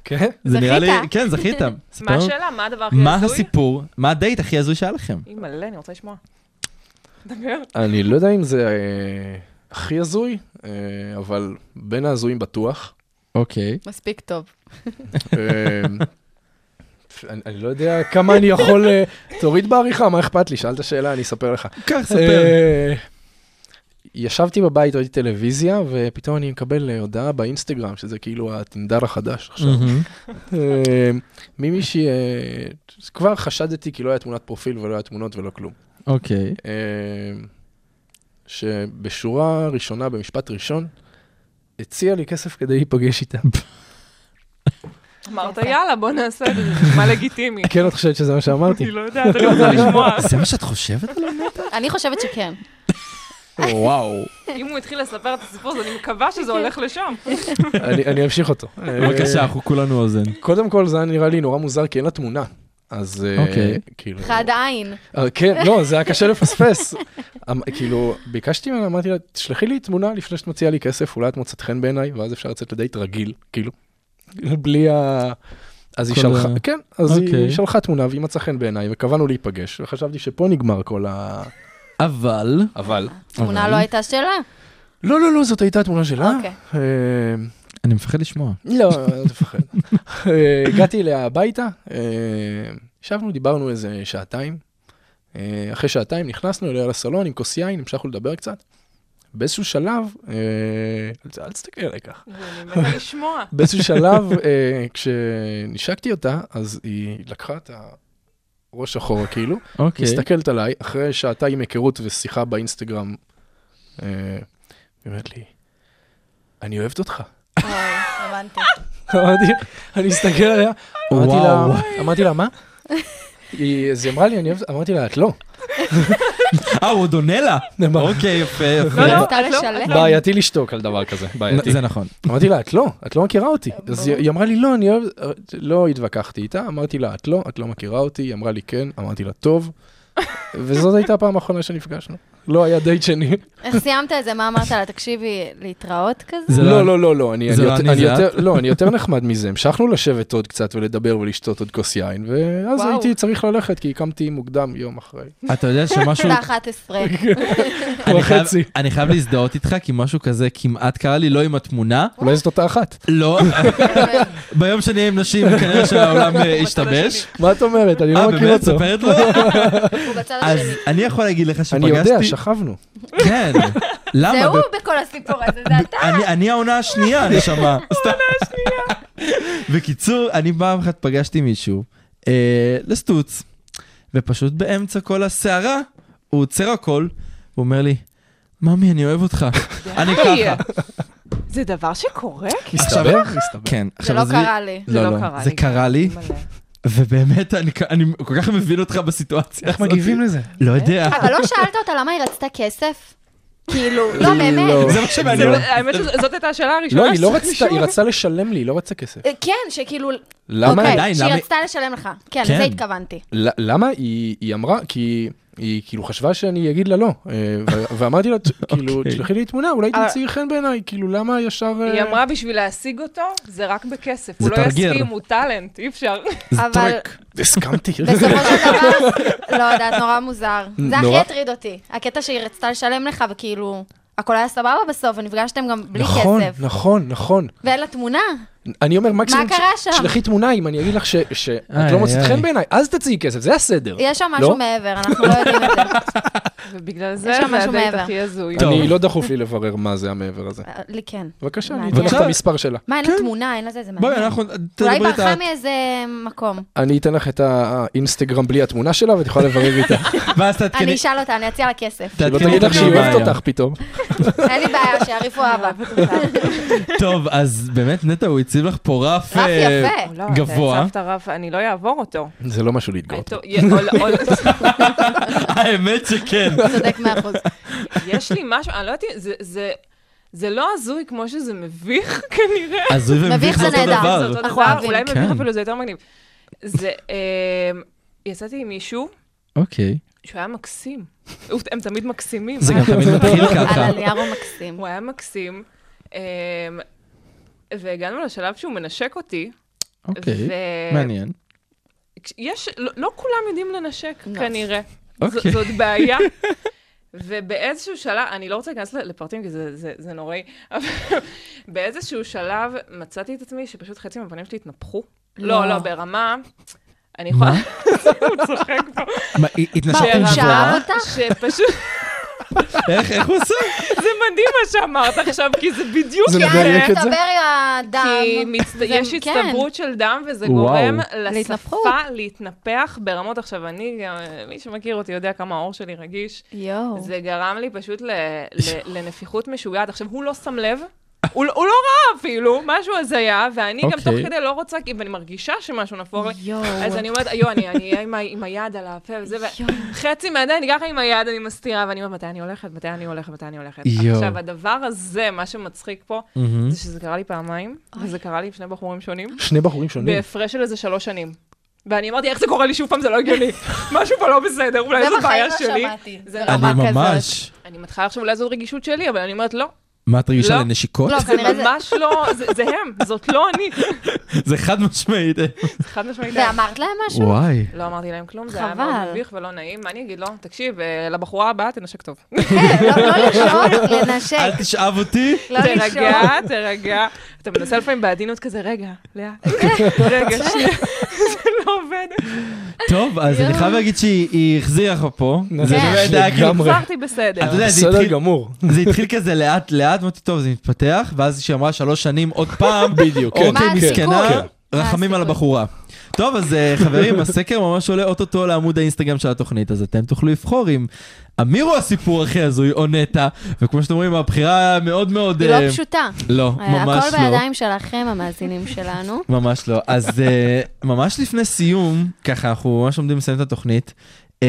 כן?
זה נראה לי-
זכית.
כן, זכית. ספר
מה
לנו-
השאלה? מה הדבר הכי
מה
הזוי?
הסיפור? מה הדייט הכי הזוי שהיה לכם?
אימא'לה, אני רוצה לשמוע. דבר.
אני לא יודע אם זה אה, הכי הזוי, אה, אבל בין ההזויים בטוח.
אוקיי.
מספיק טוב.
אה, אני אני לא יודע כמה אני יכול... אה, תוריד בעריכה, מה אכפת לי? שאלת שאלה, אני אספר לך.
כך, ספר.
אה, ישבתי בבית, ראיתי טלוויזיה, ופתאום אני מקבל אה, הודעה באינסטגרם, שזה כאילו הטינדר החדש עכשיו.
מהמם.
אה, ממישהי, אה, כבר חשדתי כי לא היה תמונת פרופיל ולא היה תמונות ולא כלום.
אוקיי.
אה, שבשורה ראשונה, במשפט ראשון, הציע לי כסף כדי להיפגש איתה.
אמרת, יאללה, בוא נעשה את זה, זה נשמע לגיטימי.
כן, את חושבת שזה מה שאמרתי?
אני לא יודעת, אני רוצה לשמוע.
זה מה שאת חושבת עליו?
אני חושבת שכן.
וואו.
אם הוא התחיל לספר את הסיפור הזה, אני מקווה שזה הולך לשם.
לא- אני אני אמשיך אותו.
בבקשה,
אה,
אנחנו כולנו אוזן.
קודם כל, זה היה נראה לי נורא מוזר, כי אין לה תמונה. אז אה,
אוקיי.
כאילו...
חד עין.
אה, כן, לא, זה היה קשה לפספס. אמ- כאילו, ביקשתי ממנה, אמרתי לה, תשלחי לי תמונה לפני שאת מוציאה לי כסף, אולי את מוצאת חן בעיניי, ואז אפשר לצאת לדייט רגיל, כאילו. בלי ה... אז היא
כל
שלחה,
ה-
כן, אז היא-
אוקיי.
היא שלחה תמונה והיא מצאה חן בעיניי, וקבענו להיפגש, וחשבתי שפה נגמר כל ה...
אבל...
אבל...
התמונה לא הייתה שלה.
לא, לא, לא, זאת הייתה התמונה שלה.
אוקיי.
אה,
אני מפחד לשמוע.
לא, אל תפחד. אה, הגעתי אליה הביתה, אה, ישבנו, דיברנו איזה שעתיים. אה, אחרי שעתיים נכנסנו אליה לסלון עם כוס יין, המשכנו לדבר קצת. באיזשהו שלב, אה, אל- אל תסתכל עליי ככה.
אני מתה לשמוע.
באיזשהו שלב, אה, כשנשקתי אותה, אז היא לקחה את הראש אחורה כאילו,
אוקיי.
מסתכלת עליי, אחרי שעתיים היכרות ושיחה באינסטגרם, אה, היא אומרת לי, אני אוהבת אותך.
אוי, הבנתי.
אמרתי, אני מסתכל עליה, אמרתי לה,
וואו.
אמרתי לה, מה? היא- אז היא אמרה לי, אני אוהבת, אמרתי לה, את לא.
אה, הוא עוד עונה לה.
מה?
אוקיי, יפה, יפה.
לא, לא,
רצתה
את לא-
לשלם.
את לא-
בעייתי לשתוק על דבר כזה, בעייתי.
זה נכון.
אמרתי לה, את לא, את לא מכירה אותי. אז היא היא אמרה לי, לא, אני אוהבת, לא התווכחתי איתה, אמרתי לה, את לא, את לא מכירה אותי, היא אמרה לי, כן, אמרתי לה, טוב. וזאת הייתה הפעם האחרונה שנפגשנו. לא היה דייט שני.
איך סיימת את זה? מה אמרת לה? תקשיבי, להתראות כזה?
זה
לא, לא, לא, לא, אני
זה
אני
לא
יותר-
אני,
אני
זה
יותר- לא, אני יותר נחמד מזה. המשכנו לשבת עוד קצת ולדבר ולשתות עוד כוס יין, ואז
וואו.
הייתי צריך ללכת, כי קמתי מוקדם יום אחרי.
אתה יודע שמשהו...
ב-11.
אני חייב-
וחצי.
אני חייב להזדהות איתך, כי משהו כזה כמעט קרה לי, לא עם התמונה,
אולי זאת אותה אחת.
לא, ביום שנהיה עם נשים, כנראה שהעולם אה, השתבש.
מה את אומרת? אני
אה,
לא מכיר
באמת?
אותו.
ספרת לו?
הוא בצד
אז
השני.
אני יכול להגיד לך שפגשתי...
אני יודע, שכבנו.
כן. למה?
זה הוא
ב-
בכל הסיפור הזה, זה אתה.
אני, אני העונה השנייה, נשמה. העונה השנייה. בקיצור, אני פעם אחת פגשתי מישהו אה, לסטוץ, ופשוט באמצע כל הסערה, הוא עוצר הכל, הוא אומר לי, ממי, אני אוהב אותך. אני ככה.
כן. זה דבר שקורה?
מסתבר? מסתבר.
כן,
זה
עכשיו
לא
עזבי-
קרה לי.
זה
לא,
לא
לא,
קרה
זה
לי.
קרה לי,
מלא.
ובאמת, אני כ- אני כל כך מבין אותך בסיטואציה הזאת.
לזה?
לא יודע.
אבל לא שאלת אותה למה היא רצתה כסף? כאילו, לא
לא.
באמת.
זה מה שמעניין.
לא.
האמת שזאת הייתה השאלה הראשונה.
לא, היא לא
שצריך
רצתה, היא
לשאול.
רצתה לשלם לי, היא לא רצתה כסף.
אה, כן, שכאילו,
למה?
אוקיי,
עדיין,
שהיא
למה-
רצתה לשלם לך. כן,
כן.
לזה התכוונתי.
ל- למה? היא היא אמרה, כי היא כאילו חשבה שאני אגיד לה לא. אה, ו- ואמרתי לה, "ת- כאילו,
אוקיי.
תשלחי לי תמונה, אולי
אה.
אבל-
תמצאי חן בעיניי, כאילו, למה ישר... אה,
היא אמרה בשביל להשיג אותו, זה רק בכסף.
זה
הוא לא
תרגר.
יסכים, הוא טאלנט, אי אפשר.
זה
אבל-
טרק.
הסכמתי.
בסופו של דבר, לא יודעת, נורא מוזר. זה הכי
נורא.
הטריד אותי. הקטע שהיא רצתה לשלם לך, וכאילו, הכל היה סבבה בסוף, ונפגשתם גם בלי
נכון,
כסף.
נכון, נכון.
ואין לה תמונה.
אני אומר, מקסימום,
קרה
ש-
שם?
שלחי תמונה אם אני אגיד לך ש- שאת
איי,
לא מוצאת
איי.
חן בעיניי, אז תציעי כסף, זה הסדר.
יש שם משהו
לא?
מעבר, אנחנו לא יודעים את זה.
ובגלל זה
יש שם משהו
זה הדייט
מעבר.
הכי הזוי.
טוב.
אני לא דחוף לי לברר מה זה המעבר הזה.
אה, לי כן.
בבקשה,
אולי.
אני אתן לך את
בבקשה.
המספר שלה.
מה, אין
כן.
לה תמונה, אין לה זה, זה מעניין.
בואי, אנחנו...
אולי
תדברי את ה-
ברחה מאיזה מקום.
אני אתן לך את האינסטגרם בלי התמונה שלה, ואת יכולה לברר איתה.
ואז
אני
תעדכני.
אשאל אותה, אני אציע לה כסף.
שלא
תעדכני
תגיד לך
אותנו מה
שהיא אוהבת
היום.
אותך פתאום.
אין לי בעיה, שיעריפו אבא.
טוב, אז באמת, נטע, הוא הציב לך פה רף...
רף
אה,
יפה.
לא,
גבוה.
אתה הצבת רף, אני לא אעבור אותו.
זה לא משהו להתגאות.
אותו- י- עול- עול-
האמת שכן.
צודק מאה אחוז.
יש לי משהו, אני לא יודעת, אם- זה- זה- זה לא הזוי כמו שזה מביך כנראה.
הזוי ומביך
מביך
זה
זה
אותו
נהדר.
דבר.
זה אותו
אנחנו
דבר,
אוהבים.
אולי
כן.
מביך אפילו זה יותר מגניב. זה, אמ, יצאתי עם מישהו
אוקיי.
שהוא היה מקסים. הוא- הם תמיד מקסימים.
זה
אה?
גם תמיד מתחיל
על
ככה.
הנייר הוא מקסים.
הוא היה מקסים. אמ, והגענו לשלב שהוא מנשק אותי.
אוקיי,
ו-
מעניין.
יש, לא, לא כולם יודעים לנשק,
נכון.
כנראה.
אוקיי.
ז, זאת בעיה. ובאיזשהו שלב, אני לא רוצה להיכנס ל- לפרטים, כי זה, זה, זה נוראי, אבל באיזשהו שלב מצאתי את עצמי שפשוט חצי מהפנים שלי התנפחו. לא,
לא.
לא, ברמה... אני יכולה... הוא צוחק פה.
מה, היא- התנשקתם
ברמה
גבוהה?
שאהב אותך?
שפשוט...
איך איך הוא עושה?
זה מדהים מה שאמרת עכשיו, כי זה בדיוק...
זה
כי אז
מדייק את זה?
מצטבר הדם.
כי מצט...
זה-
יש
כן.
הצטברות של דם, וזה
וואו.
גורם
להתנפחות.
לשפה להתנפח ברמות. עכשיו, אני, גם, מי שמכיר אותי יודע כמה העור שלי רגיש.
יואו.
זה גרם לי פשוט ל... ל... לנפיחות משוגעת. עכשיו, הוא לא שם לב. הוא, הוא לא ראה אפילו, משהו הזיה, ואני גם
אוקיי.
תוך כדי לא רוצה, כי- ואני מרגישה שמשהו נפור לי.
יואו.
אז אני אומרת, יואו, אני אני אהיה עם, ה- עם היד על הפה וזה,
יואו.
וחצי מהידיים, אני ככה עם היד, אני מסתירה, ואני אומרת, מתי אני הולכת, מתי אני הולכת, מתי אני הולכת.
יואו.
עכשיו, הדבר הזה, מה שמצחיק פה,
מהמם.
זה שזה קרה לי פעמיים, וזה קרה לי עם שני בחורים שונים,
שני בחורים שונים.
בהפרש של איזה שלוש שנים. ואני אמרתי, איך זה קורה לי שוב פעם, זה לא הגיוני. משהו פה לא בסדר, אולי
זה
זו
בחיים
בעיה
לא
שלי.
שמעתי.
זה
אני
נורא.
רמה
אני
כזאת.
ממש...
אני מתחילה עכשיו אולי זאת רגישות שלי, אבל אני אומרת, לא,
מה את רגישה
לא.
לנשיקות?
לא,
זה
כנראה זה-
ממש לא, זה זה הם, זאת לא אני.
זה חד משמעית.
זה חד משמעית. הם.
ואמרת להם משהו?
וואי.
לא אמרתי להם כלום, זה היה
חבל.
מאוד מביך ולא נעים, מה אני אגיד לו? תקשיב, אה, לבחורה הבאה תנשק טוב.
כן, לא לא לשאול, לנשק.
אל תשאב אותי.
לא לשאול.
תרגע, תרגע. אתה מנסה לפעמים בעדינות כזה, רגע, לאט. רגע, שנייה. זה לא עובד.
טוב, אז אני חייב להגיד שהיא היא החזירה לך פה. זה
כן.
באמת היה כאילו...
לגמרי.
חזרתי בסדר.
אתה יודע, זה
בסדר
התחיל-
גמור.
זה התחיל כזה לאט לאט, אמרתי, טוב, זה מתפתח, ואז כשהיא אמרה שלוש שנים עוד פעם,
בדיוק, כן.
מה
אוקיי,
הסיכוי?
מסכנה,
כן.
רחמים
מה
על
הסיכוי?
הבחורה. טוב, אז אה, חברים, הסקר ממש עולה אוטוטו לעמוד האינסטגרם של התוכנית, אז אתם תוכלו לבחור אם אמיר הוא הסיפור הכי הזוי או נטע, וכמו שאתם רואים, הבחירה מאוד מאוד...
היא
אה,
לא פשוטה.
לא, ממש
הכל
לא.
בידיים שלכם, המאזינים שלנו.
ממש לא. אז uh, ממש לפני סיום, ככה, אנחנו ממש עומדים לסיים את התוכנית. Um,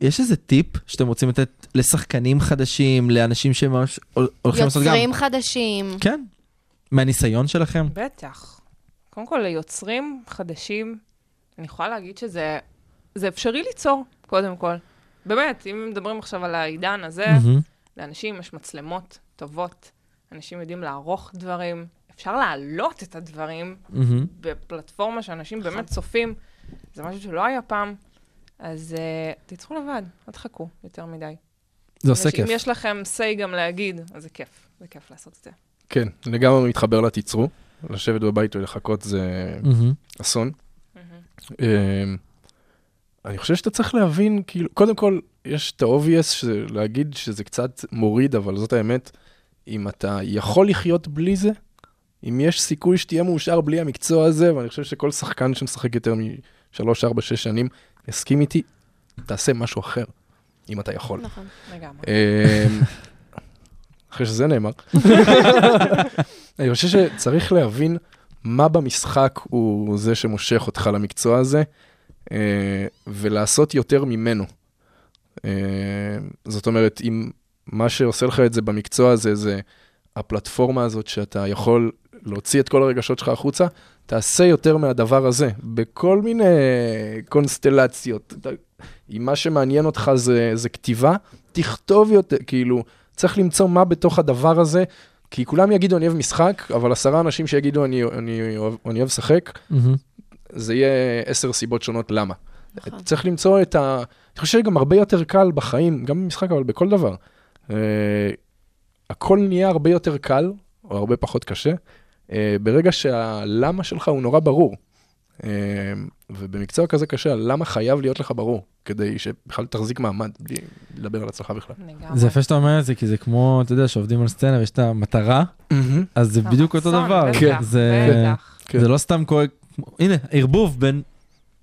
יש איזה טיפ שאתם רוצים לתת לשחקנים חדשים, לאנשים שממש הול- הולכים לעשות גם?
יוצרים חדשים.
כן. מהניסיון שלכם?
בטח. קודם כל, ליוצרים חדשים, אני יכולה להגיד שזה זה אפשרי ליצור, קודם כל. באמת, אם מדברים עכשיו על העידן הזה,
מהמם.
לאנשים יש מצלמות טובות, אנשים יודעים לערוך דברים, אפשר להעלות את הדברים
מהמם.
בפלטפורמה שאנשים
נכון.
באמת צופים, זה משהו שלא היה פעם, אז uh, תצאו לבד, אל תחכו יותר מדי.
זה עושה
אם
כיף.
יש לכם say גם להגיד, אז זה כיף, זה כיף לעשות את זה.
כן, לגמרי מתחבר לתיצרו. לשבת בבית ולחכות זה
מהמם.
אסון. אמ, אני חושב שאתה צריך להבין, כאילו, קודם כל, יש את ה-obvious, להגיד שזה קצת מוריד, אבל זאת האמת, אם אתה יכול לחיות בלי זה, אם יש סיכוי שתהיה מאושר בלי המקצוע הזה, ואני חושב שכל שחקן שמשחק יותר משלוש, ארבע, שש שנים, יסכים איתי, תעשה משהו אחר, אם אתה יכול.
נכון.
לגמרי.
אמ, אחרי שזה נאמר. אני חושב שצריך להבין מה במשחק הוא זה שמושך אותך למקצוע הזה, אה, ולעשות יותר ממנו. אה, זאת אומרת, אם מה שעושה לך את זה במקצוע הזה, זה הפלטפורמה הזאת שאתה יכול להוציא את כל הרגשות שלך החוצה, תעשה יותר מהדבר הזה, בכל מיני קונסטלציות. אתה- אם מה שמעניין אותך זה, זה כתיבה, תכתוב יותר, כאילו, צריך למצוא מה בתוך הדבר הזה, כי כולם יגידו אני אוהב משחק, אבל עשרה אנשים שיגידו אני, אני, אוהב, אני אוהב לשחק,
מהמם.
זה יהיה עשר סיבות שונות למה.
נכון.
צריך למצוא את ה... אני חושב שגם הרבה יותר קל בחיים, גם במשחק, אבל בכל דבר. אה, הכל נהיה הרבה יותר קל, או הרבה פחות קשה, אה, ברגע שהלמה שלך הוא נורא ברור. אה, ובמקצוע כזה קשה, למה חייב להיות לך ברור, כדי שבכלל תחזיק מעמד, בלי לדבר על עצמך בכלל.
לגמרי.
זה יפה שאתה אומר את זה, כי זה כמו, אתה יודע, שעובדים על סצנה ויש את המטרה, אז זה בדיוק אותו
הרצון,
דבר.
לא, בטח,
כן.
זה-
בטח.
כן.
זה לא סתם קורה, הנה, ערבוב בין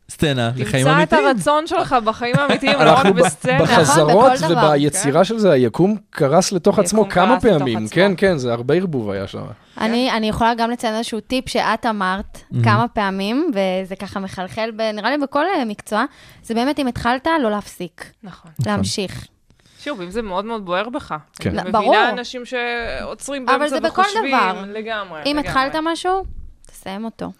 סצנה לחיים
תמצא את
אמיתיים.
הרצון שלך בחיים האמיתיים, לא
אנחנו
רק
ב-
בסצנה.
בחזרות
נכון, בכל דבר,
וביצירה של זה, היקום קרס לתוך עצמו
כן. היקום
כמה
קרס לתוך
פעמים.
עצמו.
כן, כן, זה הרבה ערבוב היה שם.
אני, אני יכולה גם לציין איזשהו טיפ שאת אמרת
Mhm.
כמה פעמים, וזה ככה מחלחל, ב, נראה לי בכל אה, מקצוע, זה באמת אם התחלת, לא להפסיק,
נכון.
להמשיך.
שוב, אם זה מאוד מאוד בוער בך.
כן.
אני
ברור.
מבינה אנשים שעוצרים
אבל
באמצע
זה בכל
וחושבים.
דבר.
לגמרי,
אם
לגמרי.
התחלת משהו, תסיים אותו.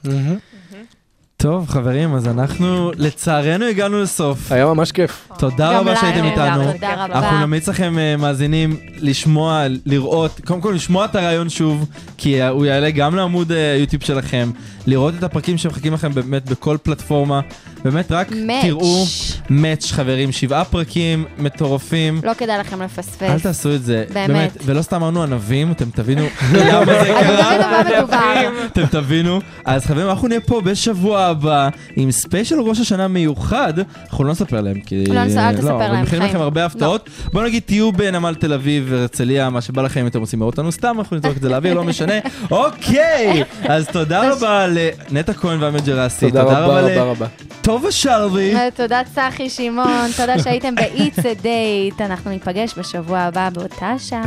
טוב, חברים, אז אנחנו, לצערנו, הגענו לסוף.
היה ממש כיף.
תודה
גם
רבה
לנו,
שהייתם איתנו.
תודה רבה.
אנחנו נמליץ לכם, אה, מאזינים, לשמוע, לראות, קודם כל לשמוע את הרעיון שוב, כי אה, הוא יעלה גם לעמוד אה, היוטיוב שלכם, לראות את הפרקים שמחכים לכם באמת בכל פלטפורמה. באמת, רק
מאץ'.
תראו מאץ', חברים, שבעה פרקים מטורפים.
לא כדאי לכם
אל
לפספס.
תעשו את זה,
באמת.
באמת, ולא סתם אמרנו ענבים, אתם תבינו למה זה
אתם
קרה.
תבינו מה מדובר.
אתם תבינו. אז חברים, אנחנו נהיה פה בשבוע הבא עם ספיישל ראש השנה מיוחד. אנחנו לא נספר להם, כי...
לא, אל תספר להם,
אבל מכינים
חיים.
לכם הרבה הפתעות. בואו נגיד, תהיו בנמל תל אביב והרצליה, מה שבא לכם, אם אתם רוצים לראות אותנו סתם, אנחנו נזרוק את זה לאוויר, לא משנה. אוקיי, אז תודה רבה לנטע כהן ועמד ג'רסי.
תודה רבה רבה
תודה
רבה.
לטובה שרבי.
תודה צחי שמעון, תודה שהייתם ב-It's a Date, אנחנו ניפגש בשבוע הבא באותה שעה.